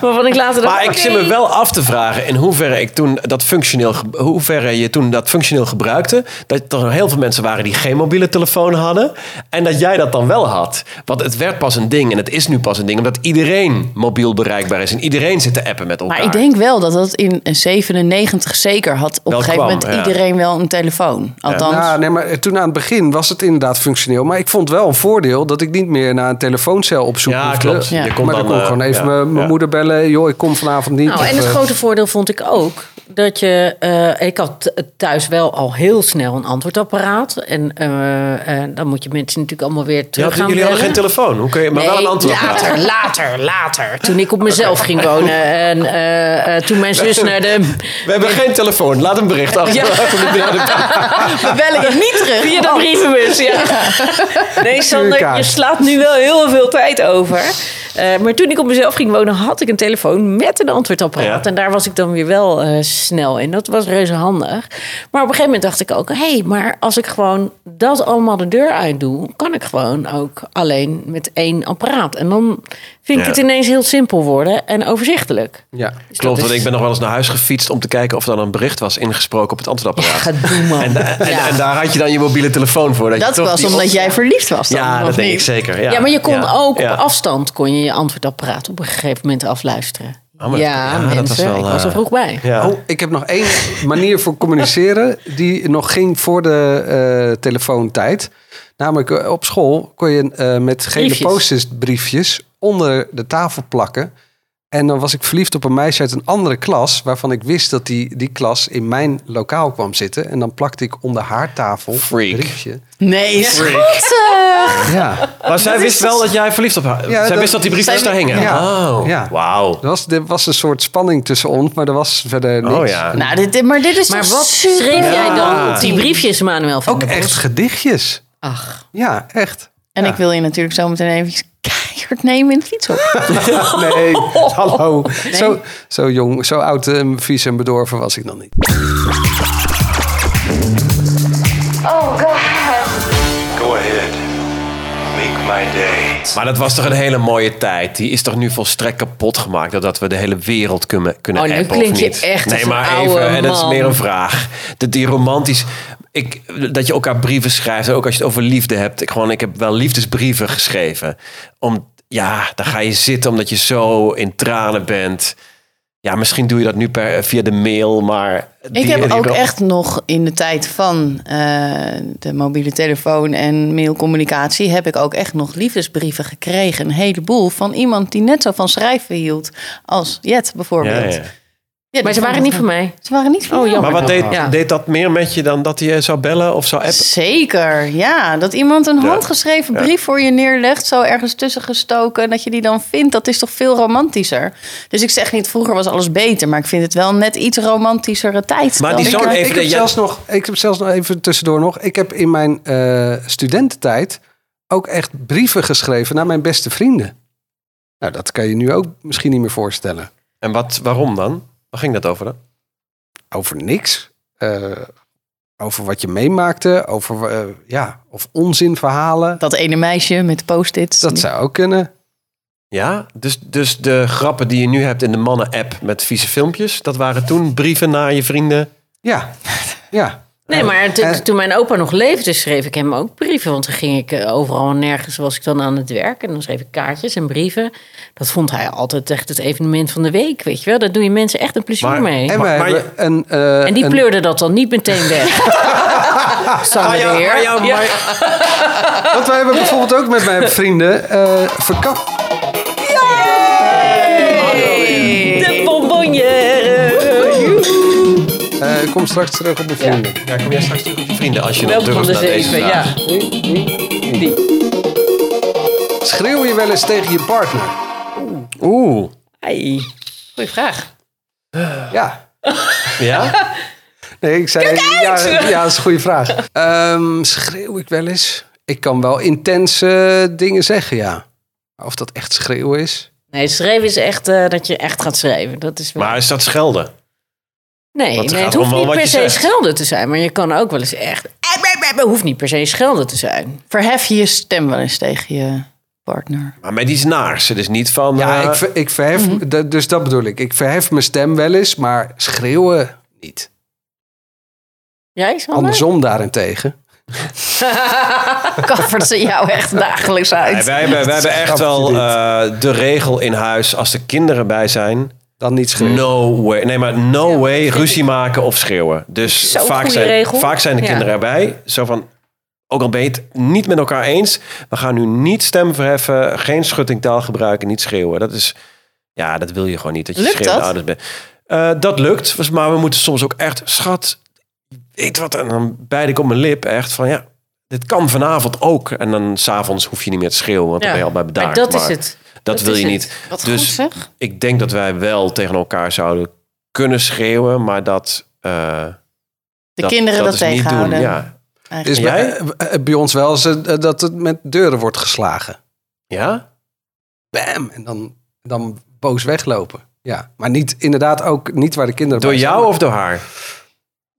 C: Waarvan ik later dacht,
B: Maar ik
C: oké.
B: zit me wel af te vragen in hoeverre, ik toen dat functioneel, ge- hoeverre je toen dat functioneel gebruikte. Dat er heel veel mensen waren die geen mobiele telefoon hadden. En dat jij dat dan wel had. Want het werd pas een ding en het is nu pas een ding. Omdat iedereen mobiel bereikbaar is. En iedereen zit te appen met elkaar.
A: Maar ik denk wel dat dat in 97 zeker had. Op
B: Wel
A: een gegeven
B: kwam,
A: moment
B: ja.
A: iedereen wel een telefoon. Althans,
G: Ja, nee, maar eh, toen aan het begin was het inderdaad functioneel. Maar ik vond wel een voordeel dat ik niet meer naar een telefooncel op zoek
B: Ja,
G: hoefde.
B: klopt. Je
A: Ja.
B: kon
G: maar
B: dan,
G: dan kon ik
B: eh,
G: gewoon even
B: ja,
G: mijn- mijn
B: ja.
G: moeder bellen. Joh, ik kom vanavond niet.
C: Nou, en
G: Of,
C: het
G: eh,
C: grote voordeel vond ik ook dat je. eh, ik had th- thuis wel al heel snel een antwoordapparaat. En eh, eh, dan moet je mensen natuurlijk allemaal weer
B: Ja,
C: terug gaan
B: jullie hadden geen
C: bellen.
B: telefoon. Hoe kun je, maar wel een
C: Nee,
B: antwoord
C: later, later, later. Toen ik op mezelf ging wonen. En eh, eh, toen mijn zus naar de.
B: We hebben geen telefoon. Laat een bericht achter.
C: Ja.
A: we bellen je niet terug.
C: Via de brievenbus, ja. Nee, Sander, je slaat nu wel heel veel tijd over. Eh, maar toen ik op mezelf ging wonen, had ik een telefoon met een antwoordapparaat.
B: Ja.
C: En daar was ik dan weer wel eh, snel in. Dat was reuze handig. Maar op een gegeven moment dacht ik ook... hé, hey, maar als ik gewoon dat allemaal de deur uit doe... kan ik gewoon ook alleen met één apparaat. En dan vind ik
B: Ja.
C: het ineens heel simpel worden en overzichtelijk.
G: ja.
C: Dus
B: Klopt,
C: dat
B: want
C: is-
B: ik ben nog wel eens naar huis gefietst om te kijken of er dan een bericht was ingesproken op het antwoordapparaat.
C: Gedoe, man.
B: en, da- en, en daar had je dan je mobiele telefoon voor. Dat, je
A: Dat
B: toch
A: was
B: die-
A: omdat jij verliefd was dan,
B: Ja,
A: of
B: dat denk
A: niet?
B: ik zeker. Ja,
C: Ja, maar je kon
B: Ja.
C: ook
B: Ja.
C: op afstand kon je je antwoordapparaat op een gegeven moment afluisteren.
B: Oh, maar-
C: ja,
B: ja, dat
C: mensen,
B: was wel,
C: ik was er
B: eh,
C: vroeg bij.
B: Ja.
G: Oh, ik heb nog één manier voor communiceren die nog ging voor de eh, telefoontijd. Namelijk eh, op school kon je eh, met gele
C: Briefjes.
G: post-it briefjes onder de tafel plakken. En dan was ik verliefd op een meisje uit een andere klas, waarvan ik wist dat die, die klas in mijn lokaal kwam zitten. En dan plakte ik onder haar tafel
B: Freak.
G: een briefje.
A: Nee, is
B: Freak.
A: goed, eh.
G: Ja,
B: Maar zij wist wel dat jij verliefd op haar...
G: Ja,
B: zij
G: dat-
B: wist dat die briefjes
A: zij-
B: daar hingen.
G: Ja.
B: Oh,
G: Ja.
B: wauw.
G: er was, er was een soort spanning tussen ons, maar er was verder niks.
B: Oh ja.
A: Nou, dit, dit- maar dit is
C: Maar
A: toch
C: wat
A: super-
C: schreef jij dan
B: Ja.
C: op die briefjes, Manuel? Van
G: Ook
C: der Bos?
G: echt gedichtjes.
C: Ach,
G: Ja, echt.
A: En
G: Ja.
A: ik wil je natuurlijk zo meteen even keihard nemen in het fietshok.
G: Nee, hallo. Zo, zo jong, zo oud, eh, vies en bedorven was ik dan niet.
H: Oh god.
J: Go ahead. Make my day.
B: Maar dat was toch een hele mooie tijd. Die is toch nu volstrekt kapot gemaakt. Doordat we de hele wereld kunnen, kunnen
C: Oh, nu
B: appen
C: klink
B: of
C: je
B: niet.
C: echt als
B: nee,
C: een
B: maar
C: oude
B: even. En dat is
C: man.
B: meer een vraag. Dat die romantisch... Ik, dat je elkaar brieven schrijft. en Ook als je het over liefde hebt. Ik, gewoon, ik heb wel liefdesbrieven geschreven. Om, ja, daar ga je zitten omdat je zo in tranen bent. Ja, misschien doe je dat nu per, via de mail, maar...
A: Ik heb ook echt nog in de tijd van eh, de mobiele telefoon en mailcommunicatie... heb ik ook echt nog liefdesbrieven gekregen. Een heleboel van iemand die net zo van schrijven hield als Jet bijvoorbeeld.
B: Ja, ja.
A: Ja,
C: Maar
A: die
C: ze waren niet van mij.
A: Ze waren niet van
C: Oh,
A: jou.
B: Maar
C: jammer.
B: wat deed,
C: Ja.
B: deed dat meer met je dan dat hij eh, zou bellen of zou appen?
A: Zeker, ja. Dat iemand een
B: Ja.
A: handgeschreven
B: Ja.
A: brief voor je neerlegt, zo ergens tussen gestoken, en dat je die dan vindt, dat is toch veel romantischer. Dus ik zeg niet, vroeger was alles beter, maar ik vind het wel een net iets romantischere tijd.
B: Maar
A: dan
B: die e-
A: ik
B: zoon
A: er-
B: heeft-
G: ik,
B: de-
G: heb
B: ja-
G: zelfs nog, ik heb zelfs nog even tussendoor nog. Ik heb in mijn eh, studententijd ook echt brieven geschreven naar mijn beste vrienden. Nou, dat kan je nu ook misschien niet meer voorstellen.
B: En wat, waarom dan? Waar ging dat over dan?
G: Over niks. eh, over wat je meemaakte. Over eh, ja, of onzinverhalen.
A: Dat ene meisje met de post-its.
G: Dat zou ook kunnen.
B: Ja, dus, dus de grappen die je nu hebt in de mannen-app met vieze filmpjes, dat waren toen brieven naar je vrienden.
G: Ja, ja.
C: Nee, maar to-
G: eh.
C: toen mijn opa nog leefde, schreef ik hem ook brieven. Want dan ging ik eh, overal en nergens was ik dan aan het werk. En dan schreef ik kaartjes en brieven. Dat vond hij altijd echt het evenement van de week, weet je wel. Daar doe je mensen echt een plezier
B: Maar-
C: mee.
G: En
C: En,
G: we
B: maar
G: hebben een... eh,
C: die
G: een-
C: pleurde dat dan niet meteen weg.
G: Ah,
C: Sander de Heer.
G: Want wij hebben bijvoorbeeld ook met mijn vrienden eh verkap...
C: De bonbonnière.
G: Eh, kom straks terug op mijn vrienden.
B: Ja, kom jij straks terug op je vrienden als je nog
C: Welkom van
B: durft
C: de
B: naar deze
C: zeven,
B: vraag.
C: ja.
G: Schreeuw je wel eens tegen je partner?
B: Oeh.
C: Ai. Goeie vraag.
G: Ja.
B: Ja?
G: Nee, ik zei... Ja, ja, dat is een goede vraag. Ehm, schreeuw ik wel eens? Ik kan wel intense dingen zeggen, ja. Maar Of dat echt schreeuwen is?
C: Nee, schrijven is echt eh, dat je echt gaat schrijven. Dat is wel-
B: Maar is dat schelden?
C: Nee,
B: Want het
C: nee
B: gaat om
C: het hoeft
B: wel
C: niet
B: wat
C: per
B: je
C: se
B: zegt.
C: schelden te zijn. Maar je kan ook wel eens echt... Eh, Het hoeft niet per se schelden te zijn.
A: Verhef je je stem wel eens tegen je partner.
B: Maar met iets naars. Het is niet van...
G: Ja,
B: eh,
G: ik, ver- ik verhef... dat- Dus dat bedoel ik. Ik verhef mijn stem wel eens, maar schreeuwen
B: Oh,
G: niet.
C: Jij, Sander?
G: Andersom daarentegen.
A: Kaffert ze jou echt dagelijks
B: nee,
A: uit.
B: wij, hebben, wij hebben echt
G: Grapje
B: wel
G: dit.
B: eh, de regel in huis. Als er kinderen bij zijn,
G: Dan niet schreeuwen.
B: No way. Nee, maar no way ruzie maken of schreeuwen. Dus
C: Zo'n
B: vaak
C: goede
B: zijn,
C: regel.
B: vaak zijn de
C: Ja.
B: kinderen erbij. Zo van, ook al ben je het niet met elkaar eens. We gaan nu niet stem verheffen. Geen schuttingtaal gebruiken. Niet schreeuwen. Dat is, ja, dat wil je gewoon niet. Dat je
A: Lukt
B: schreeuwende
A: dat?
B: ouders bent. Eh, dat lukt. was- Maar we moeten soms ook echt, schat, weet wat. En dan beide ik op mijn lip echt van, ja, dit kan vanavond ook. En dan s'avonds hoef je niet meer te schreeuwen. Want
C: Ja.
B: dan ben je al bij bedaard.
C: Maar dat is
B: Maar
C: het.
B: Dat,
C: Dat
B: wil
C: is
B: je
C: het.
B: niet.
A: Wat
B: dus
A: goed zeg.
B: ik denk dat wij wel tegen elkaar zouden kunnen schreeuwen, maar dat. eh,
A: De kinderen dat,
B: is niet
A: tegenhouden.
B: Doen. Ja.
G: Dus
B: Jij?
G: bij, eh, bij ons wel eens eh, dat het met deuren wordt geslagen.
B: ja?
G: bam, en dan, dan boos weglopen. Ja, maar niet, inderdaad ook niet waar de kinderen
B: Door
G: bij zijn.
B: jou of door haar?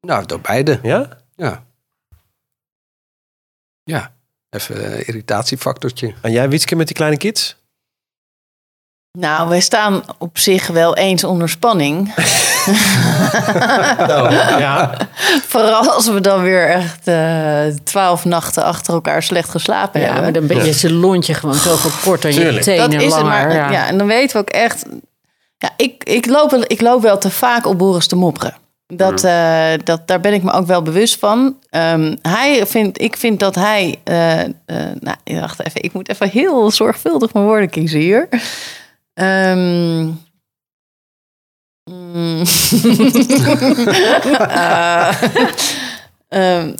G: Nou, door beide,
B: Ja?
G: ja. Ja, even eh, irritatiefactortje.
A: Oh,
B: En jij, Wietske, met die kleine kids?
A: Nou, wij staan op zich wel eens onder spanning.
B: Ja.
A: Vooral als we dan weer echt eh, twaalf nachten achter elkaar slecht geslapen
C: Ja, maar
A: hebben.
C: dan ben je zijn lontje gewoon zoveel korter en je
B: Tuurlijk.
C: tenen
A: Dat is het
C: langer.
A: maar. Ja.
C: ja.
A: en dan weten we ook echt. Ja, ik, ik, loop, wel- ik loop wel te vaak op Boris te mopperen. Dat, eh, dat, daar ben ik me ook wel bewust van. Ehm, hij vindt, ik vind dat hij. eh, eh, nou, wacht even. Ik moet even heel zorgvuldig mijn woorden kiezen hier. Ehm, mm, eh, ehm,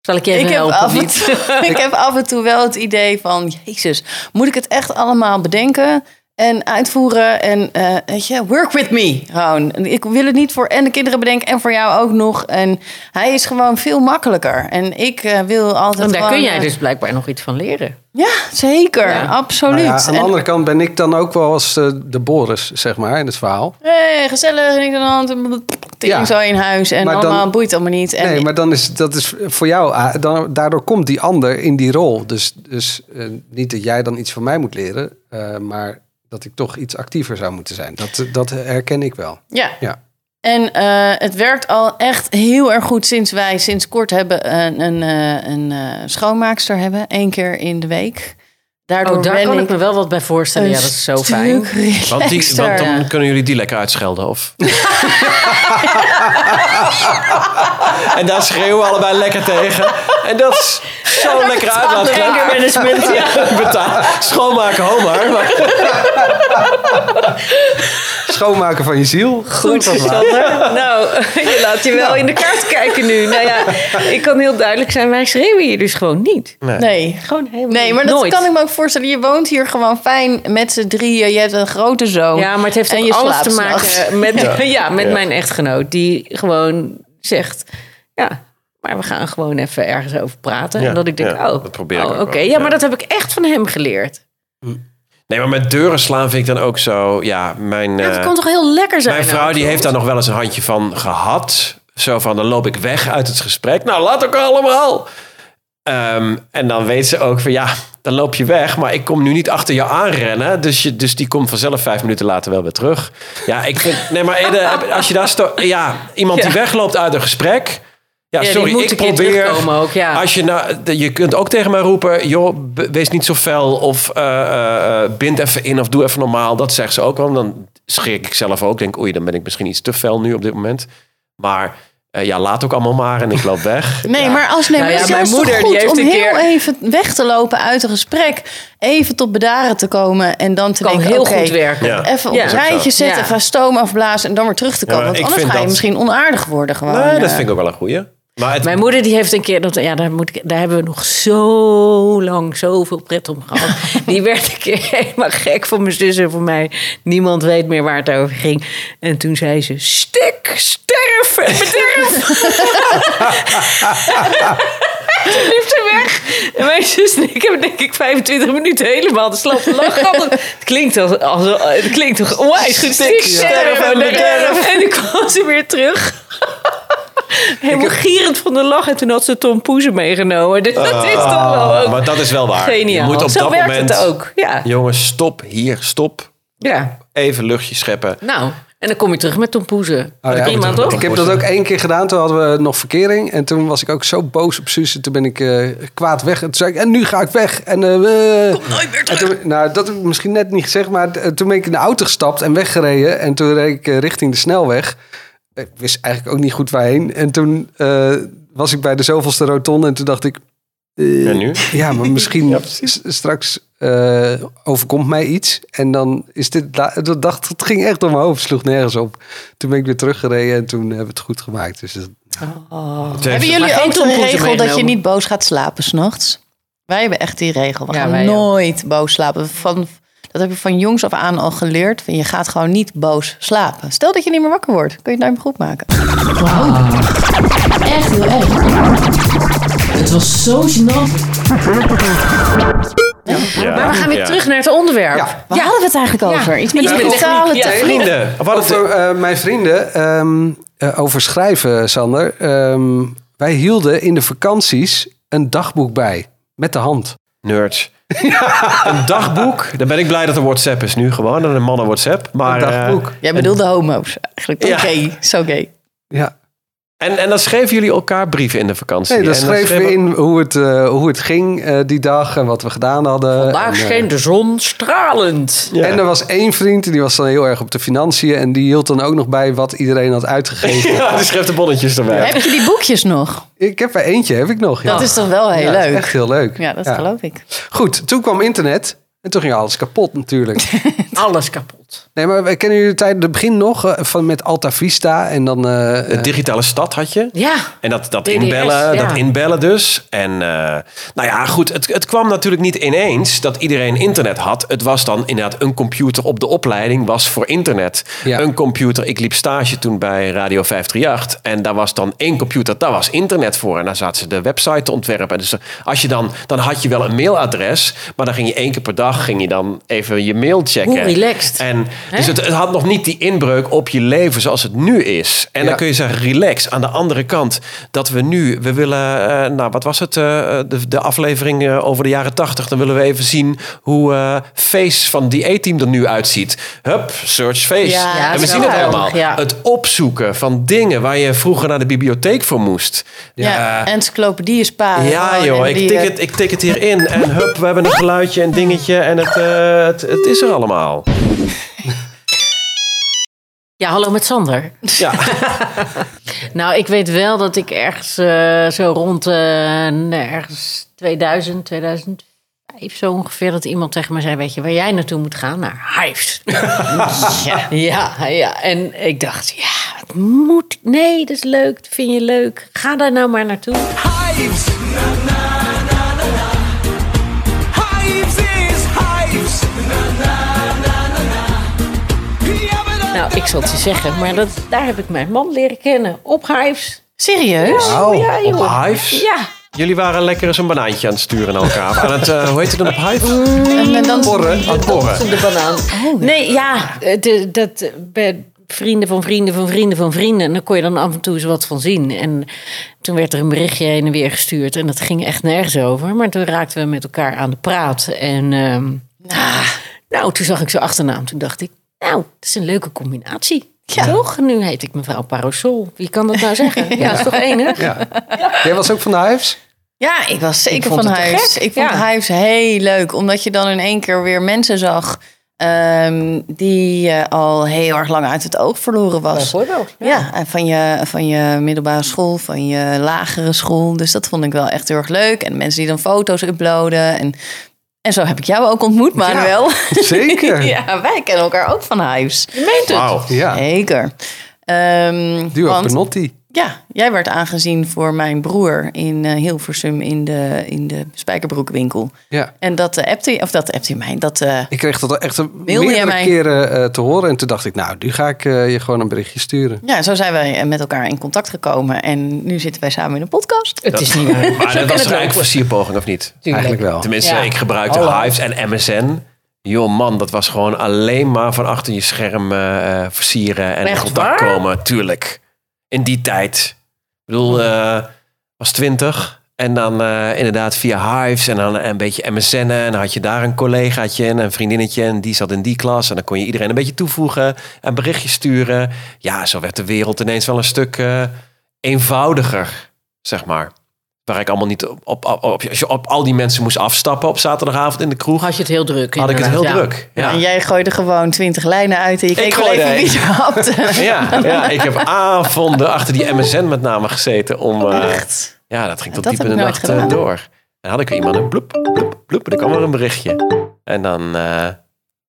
C: Zal ik je even
A: ik heb,
C: helpen?
A: af en
C: niet?
A: toe, ik heb af en toe wel het idee van... Jezus, moet ik het echt allemaal bedenken en uitvoeren? En eh, weet je, work with me gewoon. En Ik wil het niet voor en de kinderen bedenken en voor jou ook nog. En hij is gewoon veel makkelijker. En ik eh, wil altijd
C: Want daar
A: gewoon,
C: kun jij
A: eh, Oh,
C: dus blijkbaar nog iets van leren.
A: Ja, zeker.
C: Ja.
A: Absoluut.
G: Nou ja, aan de
A: En-
G: andere kant ben ik dan ook wel als eh, de Boris, zeg maar, in het verhaal.
A: hey, eh, gezellig, en ik dan hand, en
G: Ja.
A: ja. zo in huis. En
G: Maar dan-
A: allemaal boeit allemaal niet. En
G: nee, maar dan is, dat is voor jou, ah, dan, daardoor komt die ander in die rol. Dus, dus eh, niet dat jij dan iets van mij moet leren, eh, maar dat ik toch iets actiever zou moeten zijn. Dat, dat herken ik wel.
A: ja,
G: Ja.
A: En eh, het werkt al echt heel erg goed sinds wij sinds kort hebben een, een, eh, een eh, schoonmaakster hebben, één keer in de week. Daardoor
C: Oh, daar
A: ben
C: kan ik
A: ik
C: me wel wat bij voorstellen.
A: een
C: Ja, dat is zo
A: stuk
C: fijn.
B: Want, die,
A: relaxter.
B: want dan kunnen jullie die lekker uitschelden. Of... en daar schreeuwen we allebei lekker tegen. En dat is zo'n lekker uitlaatklep.
C: Angermanagement, ja.
B: Betaal- Schoonmaken, homer. Maar
G: Schoonmaken van je ziel.
C: Goed, Sander. Nou, je laat je wel in de kaart kijken nu. Nou ja, ik kan heel duidelijk zijn, wij schreeuwen hier dus gewoon niet.
A: Nee.
C: Gewoon helemaal
A: Nee,
C: niet.
A: maar dat
C: Nooit.
A: kan ik me ook voorstellen. Je woont hier gewoon fijn met z'n drieën. Je hebt een grote zoon.
C: Ja, maar het heeft
A: En
C: ook
A: je
C: alles
A: slaapt
C: te
A: s'nachts.
C: maken met, ja. met
B: Ja.
C: mijn echtgenoot. Die gewoon zegt, ja, maar we gaan gewoon even ergens over praten.
B: Ja,
C: En dat ik denk,
B: ja,
C: oh,
B: dat probeer ik
C: oh,
B: ook
C: oké.
B: wel,
C: Ja,
B: ja.
C: maar dat heb ik echt van hem geleerd.
B: Nee, maar met deuren slaan vind ik dan ook zo... Ja, mijn,
C: Ja, dat
B: eh,
C: kan toch heel lekker zijn?
B: mijn vrouw die heeft daar nog wel eens een handje van gehad. Zo van, dan loop ik weg uit het gesprek. Nou, laat ook allemaal. Ehm, en dan weet ze ook van, ja, dan loop je weg. Maar ik kom nu niet achter je aanrennen. Dus, je, dus die komt vanzelf vijf minuten later wel weer terug. Ja, ik vind... Nee, maar Ede, heb- als je daar... sto- Ja, iemand die
C: Ja.
B: wegloopt uit een gesprek... Ja,
C: Ja, die
B: sorry,
C: moet
B: ik
C: een keer
B: probeer...
C: terugkomen ook, ja.
B: Als je, nou, de- je kunt ook tegen mij roepen, joh, be- wees niet zo fel of eh, eh, eh, bind even in of doe even normaal. Dat zegt ze ook wel. En Dan schrik ik zelf ook. Denk, oei, dan ben ik misschien iets te fel nu op dit moment. Maar eh, ja, laat ook allemaal maar en ik loop weg.
A: Nee, maar als nee,
C: Nou
A: maar
C: ja,
A: het is
C: mijn
A: juist
C: moeder,
A: toch goed
C: die heeft
A: om
C: een
A: heel
C: keer-
A: even weg te lopen uit een gesprek. Even tot bedaren te komen en dan te
C: Kan
A: denken...
C: heel
A: oké,
C: goed werken.
B: Ja.
A: Even op
C: Ja.
A: een
C: Dat is ook
A: rijtje
B: zo.
A: zetten,
C: Ja.
A: ga stoom afblazen en dan weer terug te
B: Ja,
A: komen.
B: maar
A: Want
B: ik
A: anders
B: vind
A: ga je
B: dat-
A: misschien onaardig worden gewoon.
B: nee, dat
A: eh.
B: vind ik ook wel een goeie. Maar het,
C: Mijn moeder die heeft een keer, dat, ja, daar, moet ik, daar hebben we nog zo lang zoveel pret om gehad. die werd een keer helemaal gek van mijn zus en voor mij. Niemand weet meer waar het over ging. En toen zei ze, stik, sterf, en bederf. toen liep ze weg. En mijn zus en ik hebben denk ik 25 minuten helemaal de slappe lach gehad. Het klinkt, als, als, het klinkt toch onwijs goed. Stik, sterf, en bederf. En toen kwam ze weer terug. Helemaal gierend van de lach. En toen had ze Tom Poezen meegenomen. Dus dat is toch wel ook
B: Ah, maar dat is wel waar.
C: geniaal.
B: Je moet op
C: Zo
B: dat
C: werkt
B: moment...
C: het ook. Ja.
B: Jongens, stop hier, stop.
C: ja.
B: Even luchtje scheppen.
C: Nou, en dan kom je terug met Tom Poezen.
G: Oh ja.
C: Prima, toch?
G: Ik heb dat ook één keer gedaan. Toen hadden we nog verkering. En toen was ik ook zo boos op Suus. En toen ben ik eh, kwaad weg. En toen zei ik, en nu ga ik weg. En, eh, we- En toen- nou, dat heb ik misschien net niet gezegd. Maar eh, toen ben ik in de auto gestapt en weggereden. En toen reed ik eh, richting de snelweg. Ik wist eigenlijk ook niet goed waarheen. En toen eh, was ik bij de zoveelste rotonde. En toen dacht ik,
B: En nu?
G: ja, maar misschien s- straks eh, overkomt mij iets. En dan is dit... la- Dat dacht, het ging echt door mijn hoofd. sloeg nergens op. Toen ben ik weer teruggereden en toen hebben we het goed gemaakt. Dus dat-
A: Hebben jullie
C: geen
A: ook de
C: tompoezen
A: regel dat je
C: meegenomen?
A: niet boos gaat slapen s'nachts? Wij hebben echt die regel. We
C: Ja,
A: gaan
C: wij ook.
A: nooit boos slapen. Van, dat heb ik van jongs af aan al geleerd. Je gaat gewoon niet boos slapen. Stel dat je niet meer wakker wordt. Kun je het nou meer goed maken.
K: Echt heel erg. Het was zo gênant.
C: Maar we gaan weer terug naar het onderwerp.
G: Ja.
A: Waar hadden we het eigenlijk over? Iets met
C: Iets
A: die
C: met
A: totale
C: techniek, ja.
A: techniek.
B: Vrienden, wat het...
G: Over eh, mijn vrienden ehm, eh, over schrijven, Sander. Ehm, wij hielden in de vakanties een dagboek bij. Met de hand.
B: Nerds. Een dagboek. Dan ben ik blij dat er WhatsApp is nu gewoon. Een mannen WhatsApp. Maar,
G: Een dagboek.
B: eh,
A: Jij bedoelde homo's eigenlijk.
B: Ja.
A: Oké, zo gay.
G: Ja.
B: en, en dan schreven jullie elkaar brieven in de vakantie.
G: Nee, dan
B: En
G: schreven we in hoe het, eh, hoe het ging eh, die dag en wat we gedaan hadden.
C: Vandaag
G: En, eh,
C: scheen de zon stralend.
B: Ja.
G: En er was één vriend, die was dan heel erg op de financiën. En die hield dan ook nog bij wat iedereen had uitgegeven.
B: Ja, die schreef de bonnetjes erbij.
A: Heb je die boekjes nog?
G: Ik heb er eentje, heb ik nog. Ja.
A: Dat is toch wel heel
G: Ja, dat is
A: leuk.
G: Echt heel leuk.
A: Ja, dat geloof ik.
G: Goed, toen kwam internet. En toen ging alles kapot natuurlijk.
C: Alles kapot.
G: Nee, maar we kennen jullie tijdens het begin nog eh, van met Alta Vista en dan eh,
B: De digitale stad had je.
C: Ja.
B: En dat, dat,
C: DDS,
B: inbellen,
C: ja.
B: dat inbellen dus. En eh, nou ja, goed, het, het kwam natuurlijk niet ineens dat iedereen internet had. Het was dan inderdaad een computer op de opleiding was voor internet.
G: Ja.
B: Een computer, ik liep stage toen bij Radio 538. En daar was dan één computer, daar was internet voor. En daar zaten ze de website te ontwerpen. Dus als je dan, dan had je wel een mailadres. Maar dan ging je één keer per dag ging je dan even je mail checken.
C: Hoe
B: dingen.
C: Heel relaxed.
B: En, dus het, het had nog niet die inbreuk op je leven zoals het nu is. En dan kun je zeggen, relax. Aan de andere kant, dat we nu, we willen, eh, nou wat was het, eh, de, de aflevering eh, over de jaren tachtig. Dan willen we even zien hoe eh, Face van die A-team er nu uitziet. Hup, search Face.
C: Ja, dat
B: en we
C: is
B: zien
C: wel
B: het
C: geweldig,
B: allemaal.
C: ja.
B: Het opzoeken van dingen waar je vroeger naar de bibliotheek voor moest.
A: Ja,
B: Eh,
A: encyclopedie is pa.
B: ja joh, ik
C: eh,
A: eh,
B: tik, het, ik tik het hierin en hup, we hebben een geluidje en dingetje en het, eh, het, het is er allemaal.
C: Ja, hallo met Sander.
B: Ja.
C: nou, ik weet wel dat ik ergens eh, zo rond eh, nou, ergens 2000, 2005 zo ongeveer... dat iemand tegen me zei, weet je waar jij naartoe moet gaan? Naar Hives. ja, ja, ja. En ik dacht, ja, het moet... Nee, dat is leuk, dat vind je leuk. Ga daar nou maar naartoe. Hives!
K: Hives is hives.
C: Nou, ik zal het je zeggen, maar dat, daar heb ik mijn man leren kennen. Op Hives.
A: Serieus?
B: Wauw,
C: ja,
B: Oh, op
C: joh.
B: Hives?
C: Ja.
B: Jullie waren lekker eens een banaantje aan het sturen aan elkaar. Aan het, eh, hoe heet het dan op Hive?
A: En dan
B: Porren. Aan het porren.
C: de banaan. Nee, Oh, ja, eh, de, dat eh, bij vrienden van vrienden van vrienden van vrienden. En daar kon je dan af en toe eens wat van zien. En toen werd er een berichtje heen en weer gestuurd. En dat ging echt nergens over. Maar toen raakten we met elkaar aan de praat. En ehm, ah, nou, toen zag ik zijn achternaam. Toen dacht ik, nou, dat is een leuke combinatie. Toch? Nu heet ik mevrouw Parasol. Wie kan dat nou zeggen? Ja, dat is toch enig?
G: Ja. Jij was ook van de Hives?
A: Ja, ik was
C: Ik
A: zeker
C: vond
A: van
C: het te
A: huis.
C: gek,
A: Ik vond
C: ja.
A: huis heel leuk, omdat je dan in één keer weer mensen zag ehm, die eh, al heel erg lang uit het oog verloren was.
C: Bijvoorbeeld.
A: Ja, en van je, van je middelbare school, van je lagere school. Dus dat vond ik wel echt heel erg leuk. En mensen die dan foto's uploaden. En, en zo heb ik jou ook ontmoet, Manuel.
G: zeker.
A: ja, wij kennen elkaar ook van huis.
C: Je meent het.
B: Wauw.
G: Ja,
A: Zeker. Ehm,
G: Duo
A: want-
G: Penotti.
A: ja, jij werd aangezien voor mijn broer in eh, Hilversum in de, in de spijkerbroekwinkel.
G: Ja.
A: En dat eh, appte, of dat appte hij mij. Dat, eh,
G: Ik kreeg dat echt een
A: Mail jij
G: meerdere
A: mij?
G: keren eh, te horen. En toen dacht ik, nou, nu ga ik eh, je gewoon een berichtje sturen.
A: ja, zo zijn wij eh, met elkaar in contact gekomen. En nu zitten wij samen in een podcast.
C: Het is niet waar.
B: Maar dat
C: kan
B: was
C: het
B: een
C: lopen.
B: eindversierpoging of niet?
G: Eigenlijk wel.
B: Tenminste,
C: Ja.
B: ik gebruikte
G: Hallo.
B: Hives en MSN. Joh man, dat was gewoon alleen maar van achter je scherm eh, eh, versieren en in
C: Echt
B: contact
C: waar?
B: komen. Tuurlijk. In die tijd. Ik bedoel, eh, was twintig. En dan eh, inderdaad via Hives en dan een beetje MSN'en. En dan had je daar een collegaatje en een vriendinnetje. En die zat in die klas. En dan kon je iedereen een beetje toevoegen en berichtjes sturen. Ja, zo werd de wereld ineens wel een stuk eh, eenvoudiger, zeg maar. Waar ik allemaal niet op, op, op, op- als je op al die mensen moest afstappen op zaterdagavond in de kroeg.
C: Had je het heel druk.
B: had ik het heel
C: inderdaad. Ja.
B: druk. Ja.
A: En jij gooide gewoon twintig lijnen uit en je keek wel
B: gooide
A: even wie
B: even.
A: ze hapte.
B: Ja, ja, ik heb avonden achter die MSN met name gezeten om... eh,
A: Echt.
B: Ja, dat ging tot
A: Dat
B: diep in
A: heb
B: de
A: ik nooit
B: nacht eh,
A: gedaan.
B: door. En had ik weer iemand een bloep, bloep, bloep. En dan kwam er een berichtje. En dan, eh,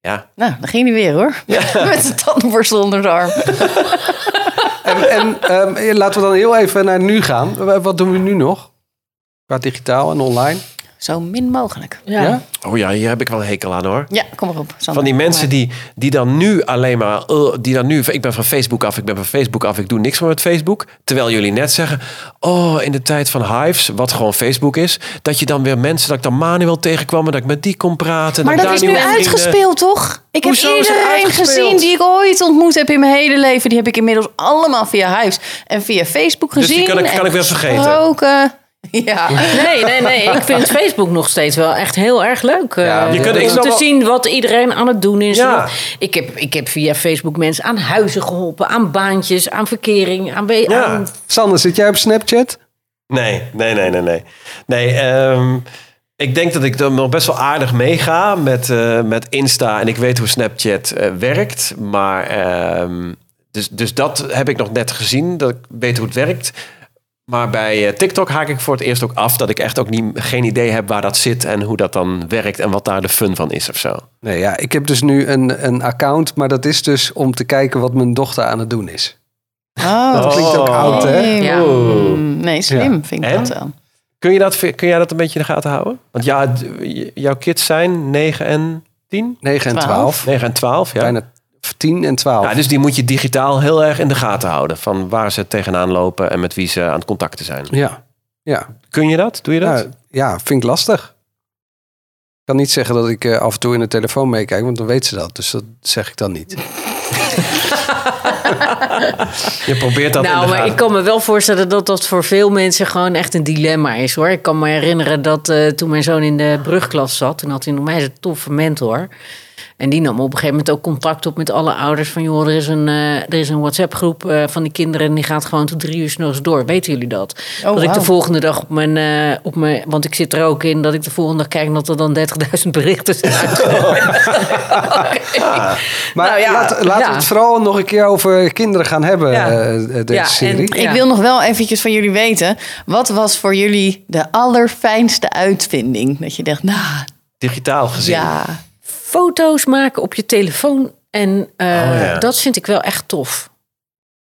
B: ja.
A: Nou, dan ging hij weer hoor. Met zijn tandenborstel onder de arm.
G: En, en ehm, eh, laten we dan heel even naar nu gaan. W- Wat doen we nu nog? Qua digitaal en online.
A: Zo min mogelijk.
G: Ja?
B: Oh ja, hier heb ik wel een hekel aan hoor.
A: Ja, kom maar op. Sander.
B: Van die mensen die, die dan nu alleen maar, eh, die dan nu, ik ben van Facebook af, ik ben van Facebook af, ik doe niks meer met Facebook. Terwijl jullie net zeggen, oh, in de tijd van Hives, wat gewoon Facebook is, dat je dan weer mensen, dat ik dan Manuel tegenkwam en dat ik met die kon praten. en
A: Maar
B: ik
A: dat
B: daar
A: is nu
B: nieuwe vrienden-
A: uitgespeeld, toch? Ik heb
B: Hoezo is het
A: iedereen
B: uitgespeeld?
A: gezien die ik ooit ontmoet heb in mijn hele leven. Die heb ik inmiddels allemaal via huis en via Facebook
B: Dus die
A: gezien.
B: kan ik- kan
A: en
B: ik weer vergeten.
A: gesproken. Ja.
C: Nee, nee, nee. Ik vind Facebook nog steeds wel echt heel erg leuk. eh,
G: Ja, je
B: kunt- ik
C: om
B: snap
C: te
B: wel-
C: zien wat iedereen aan het doen is.
B: Ja.
C: Ik, heb, ik heb via Facebook mensen aan huizen geholpen, aan baantjes, aan verkering, aan... we-
B: Ja.
C: aan
G: Sander, zit jij op Snapchat?
B: Nee, nee, nee, nee, nee. Nee, ehm, ik denk dat ik er nog best wel aardig meega met, eh, met Insta. En ik weet hoe Snapchat eh, werkt. Maar ehm, dus, dus dat heb ik nog net gezien. Dat ik weet hoe het werkt. Maar bij eh, TikTok haak ik voor het eerst ook af dat ik echt ook niet, geen idee heb waar dat zit en hoe dat dan werkt en wat daar de fun van is of zo.
G: Nee, ja, ik heb dus nu een, een account, maar dat is dus om te kijken wat mijn dochter aan het doen is.
A: Oh,
G: Dat klinkt ook oud, hè?
A: nee.
C: Ja.
A: Mm, Nee, slim vind ik
B: En?
A: dat wel.
B: Kun je, dat, kun jij dat een beetje in de gaten houden? Want ja, d- jouw kids zijn 9 en 10?
G: 9 en
A: Twaalf.
G: 12.
B: 9 en 12, ja.
G: Bijna 10 en 12.
B: Ja, dus die moet je digitaal heel erg in de gaten houden. Van waar ze tegenaan lopen en met wie ze aan het contacten zijn.
G: ja. Ja.
B: Kun je dat? Doe je dat?
G: Nou, ja, vind ik lastig. kan niet zeggen dat ik af en toe in de telefoon meekijk, want dan weet ze dat. Dus dat zeg ik dan niet.
B: Je probeert dat in
C: Nou,
B: de
C: maar
B: gaten.
C: ik kan me wel voorstellen dat dat voor veel mensen gewoon echt een dilemma is hoor. Ik kan me herinneren dat eh, toen mijn zoon in de brugklas zat, toen had hij nog mij een toffe mentor. En die nam op een gegeven moment ook contact op met alle ouders. Van joh, er is een, eh, er is een WhatsApp-groep eh, van die kinderen. En die gaat gewoon tot drie uur s'nachts door. Weten jullie dat? dat ik de
A: wauw.
C: volgende dag op mijn, eh, op mijn. Want ik zit er ook in dat ik de volgende dag kijk dat er dan 30.000 berichten zijn.
G: Maar
C: Nou ja,
G: laat- laten
C: ja.
G: we het vooral nog een keer over kinderen gaan hebben,
C: Ja.
G: eh, eh, deze
C: Ja, en
G: serie.
C: Ja.
A: Ik wil nog wel eventjes van jullie weten. Wat was voor jullie de allerfijnste uitvinding? Dat je dacht, nou,
B: Digitaal gezien.
A: ja.
C: foto's maken op je telefoon. En eh,
B: Oh, ja.
C: dat vind ik wel echt tof.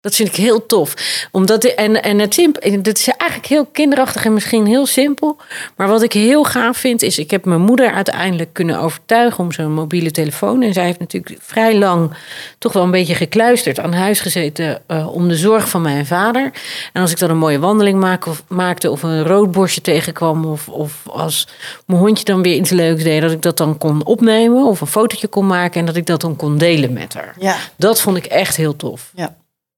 C: Dat vind ik heel tof. Omdat, en, en het simp- en dat is eigenlijk heel kinderachtig en misschien heel simpel. Maar wat ik heel gaaf vind, is ik heb mijn moeder uiteindelijk kunnen overtuigen om zo'n mobiele telefoon. En zij heeft natuurlijk vrij lang toch wel een beetje gekluisterd aan huis gezeten eh, om de zorg van mijn vader. En als ik dan een mooie wandeling maak, of, maakte of een roodborstje tegenkwam. Of, of als mijn hondje dan weer iets leuks deed, dat ik dat dan kon opnemen of een fotootje kon maken en dat ik dat dan kon delen met haar.
A: Ja.
C: Dat vond ik echt heel tof.
A: Ja.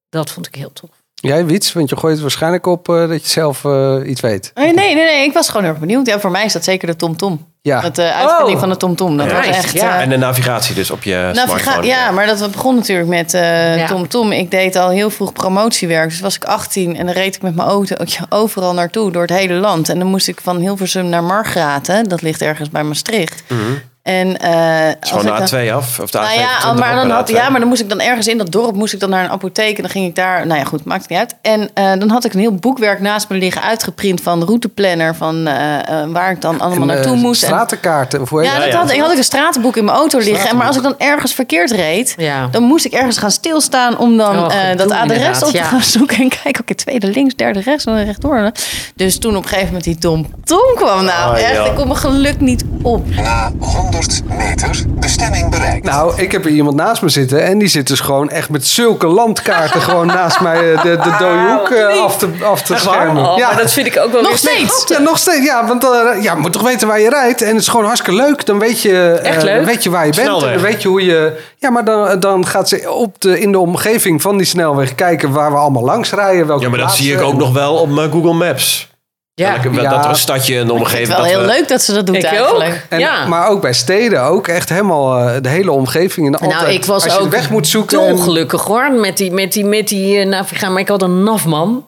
C: Dat vond ik heel tof.
G: Jij, Wiets, want je gooit het waarschijnlijk op eh, dat je zelf eh, iets weet.
A: Oh, Nee, nee, nee, nee, Ik was gewoon heel erg benieuwd. Ja, voor mij is dat zeker de TomTom.
G: Ja.
A: Het eh, uitvinding
B: Oh.
A: van de TomTom. Dat
B: Ja.
A: was echt... eh,
B: En de navigatie dus op je
A: Nou, verga-
B: smartphone.
A: ja, maar dat begon natuurlijk met eh,
C: Ja.
A: TomTom. Ik deed al heel vroeg promotiewerk. Dus was ik 18 en dan reed ik met mijn autootje overal naartoe door het hele land. En dan moest ik van Hilversum naar Margraten. Dat ligt ergens bij Maastricht.
B: Mhm.
A: En eh
B: Het is
A: als ik
B: gewoon
A: dan-
B: de A2 af. Of de
A: nou
B: A25
A: ja, maar
B: ook
A: dan
B: bij
A: had,
B: de A2.
A: ja, maar dan moest ik dan ergens in dat dorp moest ik dan naar een apotheek en dan ging ik daar. Nou ja, goed, maakt niet uit. En eh, dan had ik een heel boekwerk naast me liggen uitgeprint van routeplanner van eh, eh, waar ik dan allemaal
G: En, eh,
A: naartoe moest. En-
G: Stratenkaarten. Of hoe heet
A: ja,
G: het?
A: dat had ik. Had ik een stratenboek in mijn auto liggen. En maar als ik dan ergens verkeerd reed,
C: Ja.
A: dan moest ik ergens gaan stilstaan om dan
C: Oh,
A: eh,
C: gedoe
A: dat adres
C: inderdaad,
A: op te
C: ja.
A: gaan zoeken. En kijken, oké, tweede links, derde rechts en dan rechtdoor. Dus toen op een gegeven moment die Tom Tom kwam. Nou,
B: Ah,
A: echt,
B: ja.
A: ik kon mijn geluk niet op.
J: Na 100 meter bestemming bereikt.
G: Nou, ik heb hier iemand naast me zitten en die zit dus gewoon echt met zulke landkaarten gewoon naast mij eh, de, de dode hoek eh, af te, af te schermen.
A: Oh,
G: ja,
C: dat vind ik ook wel
A: Nog steeds.
G: ja, nog steeds. Ja, want eh, ja, je moet toch weten waar je rijdt en het is gewoon hartstikke leuk. Dan weet je, eh,
C: Echt leuk.
G: Weet je waar je bent
B: Snelweg.
G: en dan weet je hoe je... Ja, maar dan, eh, dan gaat ze op de, in de omgeving van die snelweg kijken waar we allemaal langs rijden. Welke
B: Ja, maar dat
G: plaatsen.
B: zie ik ook nog wel op mijn Google Maps.
C: Ja,
B: Welke- wel-
G: Ja.
B: Dat er een stadje en een
A: Ik vind
B: omgeving...
A: het wel
B: dat
A: heel
B: we-
A: leuk dat ze dat doet
C: ik
A: eigenlijk.
C: ook.
G: En,
C: ja.
G: Maar ook bij steden ook. Echt helemaal eh, de hele omgeving. En altijd,
C: nou, ik was
G: als je
C: ook
G: weg moet zoeken. en-
C: ongelukkig hoor, met die, met die, met die eh, navigatie. Maar ik had een nafman.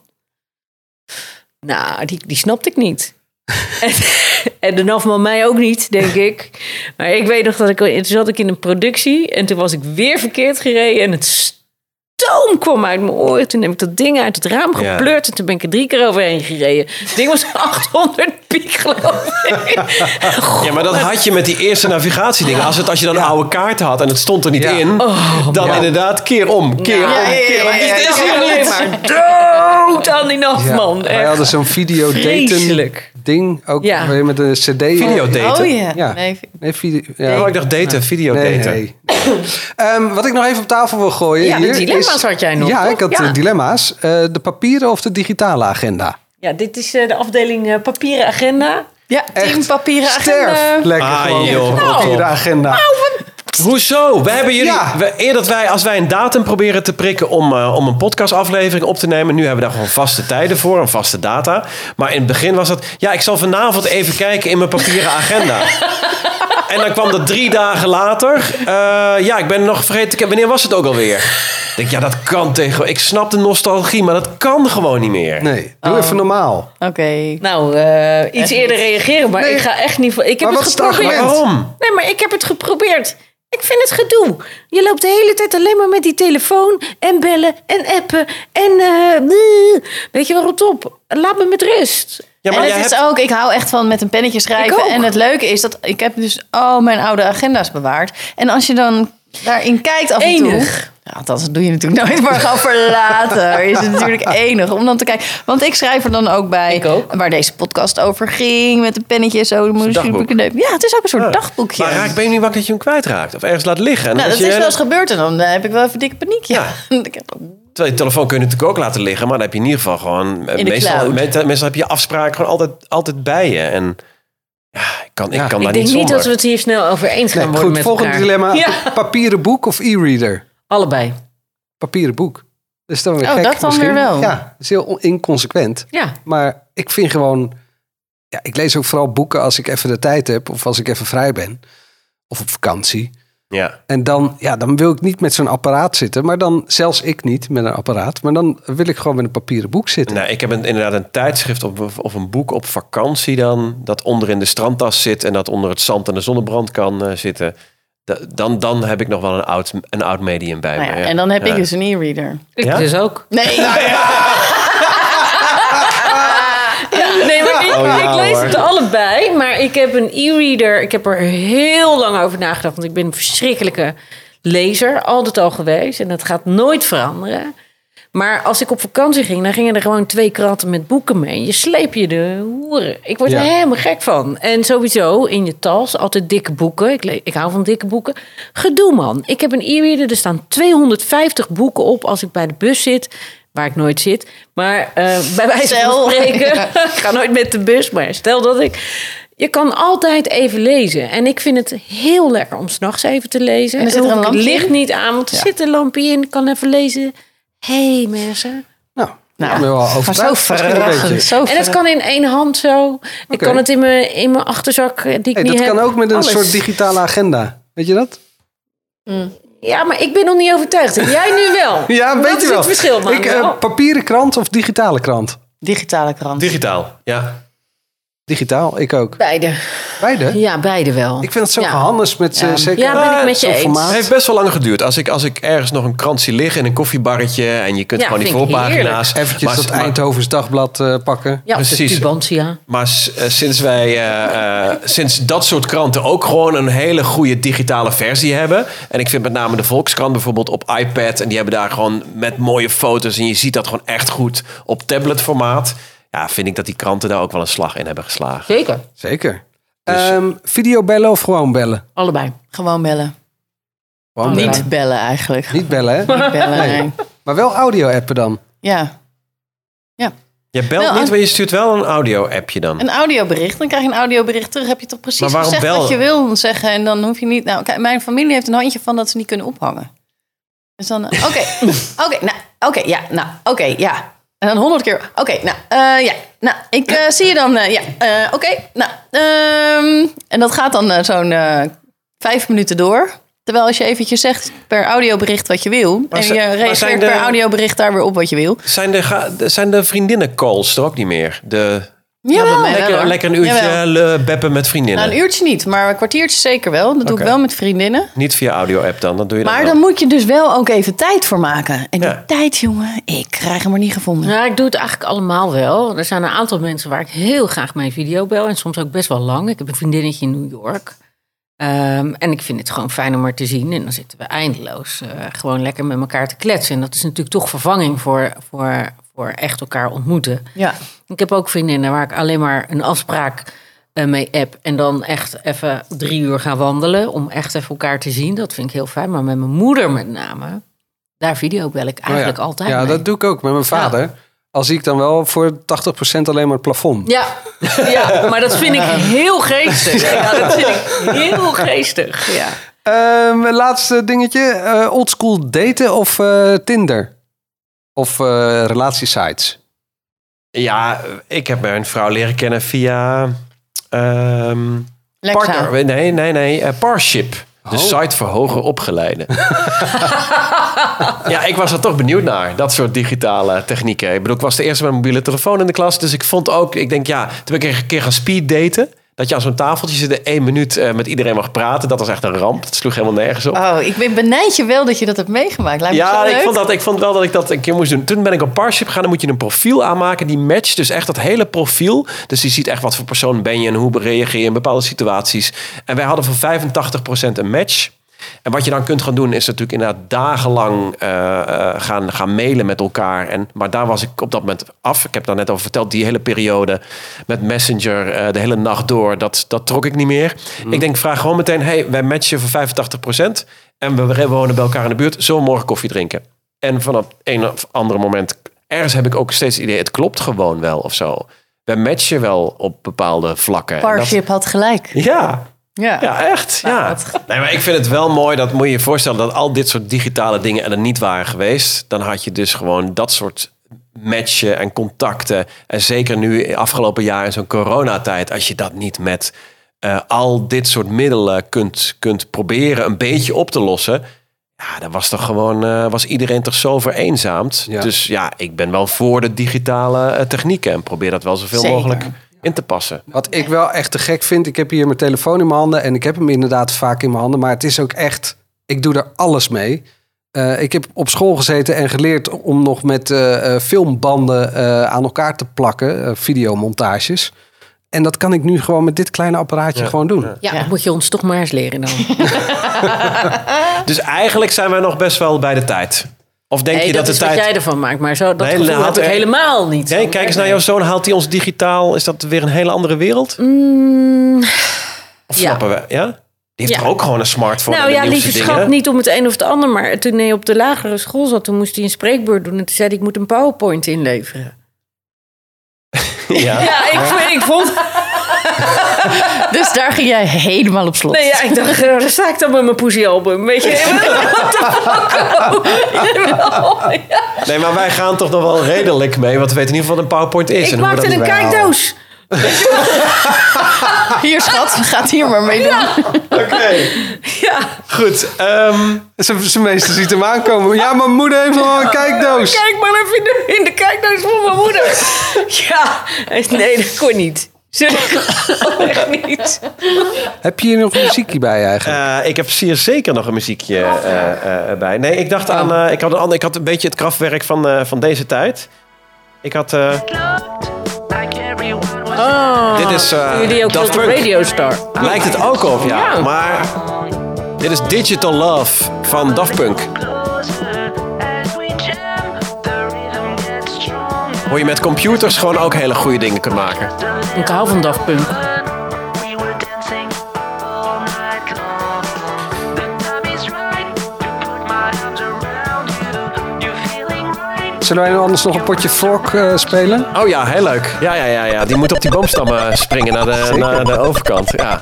C: Nou, die, die snapte ik niet. en, en de nafman mij ook niet, denk ik. Maar ik weet nog dat ik... Toen zat ik in een productie en toen was ik weer verkeerd gereden. En het stoom kwam uit mijn oren. Toen heb ik dat ding uit het raam
B: Ja.
C: gepleurd. En toen ben ik er drie keer overheen gereden. Het ding was 800 piek, geloof ik.
B: Ja, maar dat had je met die eerste navigatiedingen. Als, het, als je dan een oude kaarten had en het stond er niet
G: Ja.
B: in... dan inderdaad keer om, keer om.
A: Oh, Ja, ja, ja, ja, ja,
C: Ik
A: ja.
C: ging alleen maar dood aan die nafman.
G: wij
C: Echt.
G: hadden zo'n videodaten
C: Vreselijk.
G: ding. Ook
C: Ja.
G: weer met een cd.
B: Videodaten.
A: Oh ja.
G: Ja.
A: Nee,
G: Nee, video, ja.
B: Oh, ik dacht daten,
G: Nee,
B: videodaten.
G: nee. Ehm, wat ik nog even op tafel wil gooien.
C: Ja, de
G: hier
C: dilemma's
G: is-
C: had jij nog,
G: Ja,
C: toch?
G: ik had
C: Ja.
G: eh, dilemma's. Eh, de papieren of de digitale agenda?
C: Ja, dit is eh, de afdeling eh, papieren agenda.
A: Ja, team papieren
G: Sterf.
A: agenda.
G: Lekker
B: Ah,
G: gewoon met
B: joh,
G: de
C: Nou.
B: wat
G: papieren
B: op.
G: agenda.
B: Hoezo? We hebben jullie,
G: Ja.
B: we- eer dat wij, als wij een datum proberen te prikken om, eh, om een podcastaflevering op te nemen, nu hebben we daar gewoon vaste tijden voor, een vaste data. Maar in het begin was dat, ja, ik zal vanavond even kijken in mijn papieren agenda. en dan kwam dat drie dagen later. Eh, ja, ik ben nog vergeten, te kijken, wanneer was het ook alweer? Ik denk, ja, dat kan tegen. Ik snap de nostalgie, maar dat kan gewoon niet meer.
G: Nee,
C: Oh.
G: doe even normaal.
A: Oké.
C: Nou, eh, iets eerder reageren, maar
G: Nee.
C: ik ga echt niet... voor- Ik heb
G: Maar
C: het
G: wat is het
C: geprobeerd.
G: argument?
B: Waarom?
C: Nee, maar ik heb het geprobeerd. Ik vind het gedoe. Je loopt de hele tijd alleen maar met die telefoon en bellen en appen en... eh, bleh. weet je wel, rot op. Laat me met rust.
B: Ja,
A: en
B: jij
A: het
B: hebt-
A: is ook, ik hou echt van met een pennetje
C: Ik
A: schrijven.
C: ook.
A: En het leuke is dat ik heb dus al mijn oude agenda's bewaard. En als je dan daarin kijkt af en toe...
C: Enig.
A: Ja, althans, dat doe je natuurlijk nooit, maar gewoon voor later is het natuurlijk enig om dan te kijken. Want ik schrijf er dan ook bij
C: Ik ook.
A: waar deze podcast over ging. Met een pennetje en zo.
B: een
A: Moest je
B: dagboek.
A: beknepen. Ja, het is ook een soort
B: Ja.
A: dagboekje.
B: Maar raak, ben je nu bang dat je hem kwijtraakt? Of ergens laat liggen? En
A: nou,
B: dat
A: dat
B: je-
A: is wel eens gebeurd en dan eh, heb ik wel even dikke paniek. Ja. Ik heb-
B: Terwijl je telefoon kun je natuurlijk ook laten liggen, maar dan heb je in ieder geval gewoon. eh,
A: In de
B: meestal,
A: cloud.
B: me- meestal heb je afspraken gewoon altijd, altijd bij je. En Ja, ik kan, ik kan daar
C: ik denk
B: niet
C: niet
B: zonder.
C: dat we het hier snel over eens gaan
G: Nee,
C: worden
G: goed,
C: met
G: volgende
C: elkaar.
G: dilemma.
C: Ja,
G: Papieren boek of e-reader?
C: allebei.
G: Papieren boek. Dat is dan weer
A: Oh,
G: gek
A: dat dan
G: misschien.
A: weer wel.
G: Ja, dat is heel on- inconsequent.
C: Ja,
G: Maar ik vind gewoon... Ja, ik lees ook vooral boeken als ik even de tijd heb. Of als ik even vrij ben. Of op vakantie.
B: Ja.
G: En dan, ja, dan wil ik niet met zo'n apparaat zitten. Maar dan, zelfs ik niet met een apparaat. Maar dan wil ik gewoon met een papieren boek zitten.
B: Nou, ik heb een, inderdaad een tijdschrift of, of een boek op vakantie dan... dat onder in de strandtas zit en dat onder het zand en de zonnebrand kan eh, zitten. Da- Dan, dan heb ik nog wel een oud, een oud medium bij
A: Nou
B: me.
A: ja,
B: ja.
A: en dan heb
B: Ja.
A: ik dus een e-reader.
C: ik
B: Ja?
C: dus ook.
A: Nee,
C: Nee, maar ik,
B: Oh, ja,
C: ik lees
B: hoor.
C: het allebei. Maar ik heb een e-reader. Ik heb er heel lang over nagedacht. Want ik ben een verschrikkelijke lezer. Altijd al geweest. En dat gaat nooit veranderen. Maar als ik op vakantie ging, dan gingen er gewoon twee kratten met boeken mee. Je sleep je de hoeren. Ik word
G: Ja.
C: er helemaal gek van. En sowieso in je tas altijd dikke boeken. Ik, le- ik hou van dikke boeken. Gedoe man. Ik heb een e-reader. Er staan 250 boeken op als ik bij de bus zit. Waar ik nooit zit. Maar eh, bij wijze
A: Stel.
C: van spreken. ik ga nooit met de bus, maar stel dat ik... Je kan altijd even lezen. En ik vind het heel lekker om s'nachts even te lezen.
A: En er zit
C: Dan
A: er
C: hoef
A: een
C: ik het
A: lampje
C: licht
A: in?
C: niet aan, want er
A: Ja.
C: zit een lampje in. Ik kan even lezen. hey, mensen.
G: Nou,
A: Nou,
G: ik ben wel
A: maar zo
G: overtuigd. Misschien een
A: verrassend.
G: beetje.
A: Zo
C: En dat
A: verrassend.
C: kan in één hand zo. Ik
G: Oké.
C: kan het in mijn, in mijn achterzak eh, die ik
G: Hey,
C: niet
G: dat
C: heb.
G: kan ook met een
C: Alles.
G: soort digitale agenda. Weet je dat?
C: Ja, maar ik ben nog niet overtuigd. Jij nu wel.
G: Ja,
C: dat
G: weet je
C: is
G: wel.
C: het verschil, Nou. man.
G: Ik, eh, papieren krant of digitale krant?
A: Digitale krant.
B: Digitaal, ja.
G: Digitaal, ik ook.
C: beide.
G: Beide?
C: Ja, beide wel.
G: Ik vind het zo
C: Ja.
G: gehannes met eh, zeker...
C: Ja, ben ik met je
G: zo'n
C: eens.
G: formaat.
B: Het Ah, heeft best wel lang geduurd. Als ik, als ik ergens nog een krant zie liggen in een koffiebarretje... en je kunt
C: Ja,
B: gewoon die
C: vind ik
B: voorpagina's...
G: Eventjes
B: maar-
G: dat
B: maar-
G: Eindhovens Dagblad eh, pakken.
C: Ja, precies.
B: precies. Maar s- eh, sinds wij eh, eh, sinds dat soort kranten ook gewoon een hele goede digitale versie hebben. En ik vind met name de Volkskrant bijvoorbeeld op iPad. En die hebben daar gewoon met mooie foto's. En je ziet dat gewoon echt goed op tabletformaat. Ja, vind ik dat die kranten daar ook wel een slag in hebben geslagen.
C: Zeker.
G: Zeker. Ehm, video bellen of gewoon bellen?
C: Allebei.
A: Gewoon bellen.
G: Gewoon
A: Niet
G: bellen.
A: bellen eigenlijk.
G: Niet bellen, hè?
A: Niet bellen, nee.
G: Maar wel audio-appen dan. Oh
A: Ja.
B: Je belt
A: Wel,
B: niet,
A: een-
B: maar je stuurt wel een audio-appje dan.
A: Een audiobericht, dan krijg je een audiobericht terug. Heb je toch precies
B: Maar waarom
A: gezegd wat je
B: bellen?
A: wil zeggen? En dan hoef je niet... Nou, kijk, mijn familie heeft een handje van dat ze niet kunnen ophangen. Dus dan... Oké, oké, nou, oké, ja, nou, oké, ja. En dan honderd keer... Oké, nou, eh, ja, nou, ik eh, zie je dan... eh, ja, eh, oké, nou. ehm, en dat gaat dan eh, zo'n eh, vijf minuten door. Terwijl als je eventjes zegt per audiobericht wat je wil...
B: Maar
A: en
B: zijn-
A: je
B: maar zijn
A: reageert
B: de-
A: per audiobericht daar weer op wat je wil...
B: Zijn de, ga- de- zijn de vriendinnen-calls er ook niet meer? De,
A: Jawel.
B: lekker,
A: Jawel, hoor.
B: lekker een uurtje
A: Jawel.
B: le- beppen met vriendinnen.
A: Nou, een uurtje niet, maar een kwartiertje zeker wel. Dat doe
B: Oké.
A: ik wel met vriendinnen.
B: Niet via audio-app dan, dat doe je dan
A: Maar
B: wel.
A: dan moet je dus wel ook even tijd voor maken. En die
B: Ja.
A: tijd, jongen, ik krijg hem er niet gevonden.
C: Ja, ik doe het eigenlijk allemaal wel. Er zijn een aantal mensen waar ik heel graag mijn video bel. En soms ook best wel lang. Ik heb een vriendinnetje in New York. Ehm, en ik vind het gewoon fijn om haar te zien. En dan zitten we eindeloos eh, gewoon lekker met elkaar te kletsen. En dat is natuurlijk toch vervanging voor, voor, voor echt elkaar ontmoeten.
A: Ja.
C: Ik heb ook vriendinnen waar ik alleen maar een afspraak eh, mee app. En dan echt even drie uur gaan wandelen. Om echt even elkaar te zien. Dat vind ik heel fijn. Maar met mijn moeder met name. Daar video bel ik
G: Oh
C: eigenlijk
G: ja.
C: altijd
G: Ja,
C: mee.
G: dat doe ik ook met mijn vader. Al zie ik dan wel voor 80% alleen maar het plafond.
C: Ja, ja, maar dat vind ik heel geestig. Ja, dat vind ik heel geestig. Ja.
G: Ehm, laatste dingetje. eh, oldschool daten of eh, Tinder? Of eh, relatiesites?
B: Ja, ik heb mijn vrouw leren kennen via ehm
A: Lexa.
B: partner. Nee, nee, nee. eh, Parship. De
G: Oh.
B: site voor hoger opgeleiden. ja, ik was er toch benieuwd naar. Dat soort digitale technieken. Ik bedoel, ik was de eerste met een mobiele telefoon in de klas. Dus ik vond ook, ik denk ja, toen ben ik een keer gaan speeddaten. Dat je aan zo'n tafeltje zit en één minuut eh, met iedereen mag praten. Dat was echt een ramp. Dat sloeg helemaal nergens op.
A: Oh, ik ben benijd je wel dat je dat hebt meegemaakt. Lijkt me
B: Ja,
A: zo leuk.
B: ik vond, dat, ik vond wel dat ik dat een keer moest doen. Toen ben ik op Parship gegaan. Dan moet je een profiel aanmaken. Die matcht dus echt dat hele profiel. Dus die ziet echt wat voor persoon ben je en hoe reageer je in bepaalde situaties. En wij hadden voor 85% een match. En wat je dan kunt gaan doen is natuurlijk inderdaad dagenlang eh, eh, gaan, gaan mailen met elkaar. En, maar daar was ik op dat moment af. Ik heb daar net over verteld, die hele periode met Messenger eh, de hele nacht door. Dat, dat trok ik niet meer. Ik denk, vraag gewoon meteen, hey, wij matchen voor 85%. En we wonen bij elkaar in de buurt. Zullen we morgen koffie drinken? En vanaf een of andere moment... Ergens heb ik ook steeds het idee... het klopt gewoon wel of zo. wij matchen wel op bepaalde vlakken.
A: Parship had gelijk.
B: Ja.
A: Ja,
B: ja echt.
A: Nou,
B: ja.
A: dat-
B: Nee, maar ik vind het wel mooi. Dat moet je je voorstellen dat al dit soort digitale dingen er niet waren geweest. Dan had je dus gewoon dat soort matchen en contacten. En zeker nu afgelopen jaar in zo'n coronatijd. Als je dat niet met eh, al dit soort middelen kunt, kunt proberen een beetje op te lossen. Ja, dan was toch gewoon eh, was iedereen toch zo vereenzaamd. Dus ja, ik ben wel voor de digitale eh, technieken en probeer dat wel zoveel
G: Zeker.
B: mogelijk in te passen.
G: Wat ik wel echt te gek vind, ik heb hier mijn telefoon in mijn handen en ik heb hem inderdaad vaak in mijn handen, maar het is ook echt, ik doe er alles mee. Eh, ik heb op school gezeten en geleerd om nog met eh, eh, filmbanden eh, aan elkaar te plakken, eh, videomontages. En dat kan ik nu gewoon met dit kleine apparaatje gewoon doen.
C: Ja, dat moet je ons toch maar eens leren dan.
B: Dus eigenlijk zijn wij nog best wel bij de tijd. Of denk
C: Nee,
B: je dat,
C: dat
B: de
C: is
B: tijd.
C: wat jij ervan maakt. Maar zo, dat
B: Nee,
C: gevoel
B: nou,
C: heb ik
B: er-
C: helemaal niet.
B: Nee, kijk eens naar jouw zoon. Haalt hij ons digitaal? Is dat weer een hele andere wereld? Of
C: Mm, ja.
B: snappen we? Ja? Die heeft
C: Ja.
B: toch ook gewoon een smartphone.
C: Nou
B: en de
C: ja,
B: nieuwste
C: lieve
B: dingen.
C: schat, niet om het een of het ander. Maar toen hij op de lagere school zat, toen moest hij een spreekbeurt doen. En toen zei hij, ik moet een powerpoint inleveren.
B: Ja,
C: ik, vond- ik vond...
A: Dus daar ging jij helemaal op slot.
C: Nee, ja, ik dacht, eh, daar sta ik dan met mijn poesiealbum. Weet je, What the fuck? Jawel.
B: Nee, maar wij gaan toch nog wel redelijk mee. Want we weten in ieder geval wat een PowerPoint is.
C: Ik
B: en hoe we
C: maakte
B: dat
C: een
B: behalen.
C: kijkdoos.
A: Hier schat, gaat hier maar mee doen.
B: Oké. Goed. ehm,
G: Zijn, zijn meester ziet hem aankomen. Ja, mijn moeder heeft al een kijkdoos.
C: Kijk maar even in de, in de kijkdoos van mijn moeder. Ja, hij is- nee, dat kon niet. Zeg, kon echt niet.
G: Heb je hier nog muziekje bij eigenlijk?
B: Eh, ik heb hier zeker nog een muziekje
C: Oh,
B: eh, eh, bij. Nee, ik dacht aan. eh, ik, had een ander, ik had een beetje het kraftwerk van, eh, van deze tijd. Ik had. eh,
C: Oh,
B: dit is. eh,
C: jullie ook
B: Daft
C: op de
B: Punk.
C: Radio Star.
B: Lijkt het ook op, ja.
C: Ja.
B: Maar. Dit is Digital Love van Daft Punk. Hoe je met computers gewoon ook hele goede dingen kunt maken.
C: Ik hou van Daft Punk.
G: Zullen wij anders nog een potje fork eh, spelen?
B: Oh ja, heel leuk. Ja, ja, ja, ja. Die moet op die boomstammen springen naar de, naar de overkant. Ja.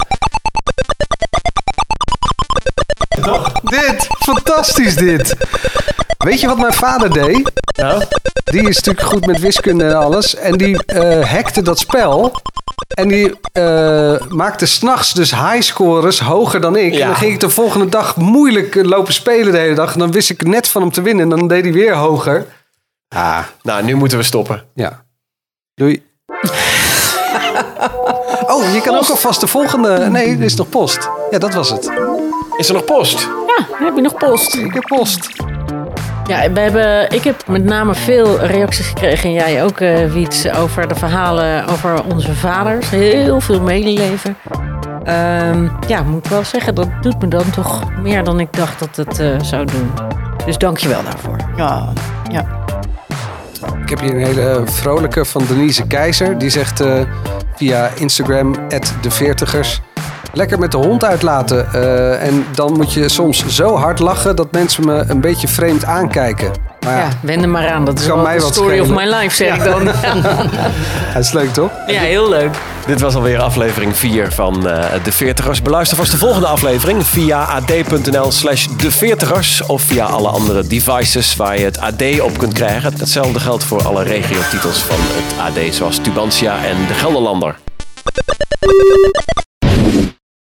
G: Dit, fantastisch dit. Weet je wat mijn vader deed?
B: Nou?
G: Die is natuurlijk goed met wiskunde en alles. En die eh hackte dat spel. En die eh, maakte s'nachts dus highscores hoger dan ik.
B: Ja.
G: En dan ging ik de volgende dag moeilijk eh, lopen spelen de hele dag. En dan wist ik net van hem te winnen. En dan deed hij weer hoger. Ah,
B: Nou, nu moeten we stoppen.
G: ja. Doei. oh, je kan ook alvast de volgende... Nee, er is nog post. Ja, dat was het.
B: Is er nog post?
C: Ja, heb je nog post?
G: Ik heb post.
C: Ja, we hebben, ik heb met name veel reacties gekregen. En jij ook, eh Wiets, over de verhalen over onze vaders. Heel veel medeleven. Ehm, ja, moet ik wel zeggen, dat doet me dan toch meer dan ik dacht dat het eh, zou doen. Dus dank je wel daarvoor.
A: Ja, ja.
G: Ik heb hier een hele eh, vrolijke van Denise Keizer. Die zegt eh, via Instagram, de veertigers. Lekker met de hond uitlaten. eh, en dan moet je soms zo hard lachen dat mensen me een beetje vreemd aankijken. Maar ja,
C: Ja, wend er maar aan. Dat is
G: Kan
C: wel
G: mij
C: de
G: wat
C: story of
G: schelen.
C: my life, zeg ik dan.
G: dat is leuk toch?
C: ja, heel leuk.
B: Dit was alweer aflevering 4 van eh, De Veertigers. Beluister vast de volgende aflevering via ad.nl slash De Veertigers... of via alle andere devices waar je het AD op kunt krijgen. Hetzelfde geldt voor alle regiotitels van het AD... zoals Tubantia en De Gelderlander.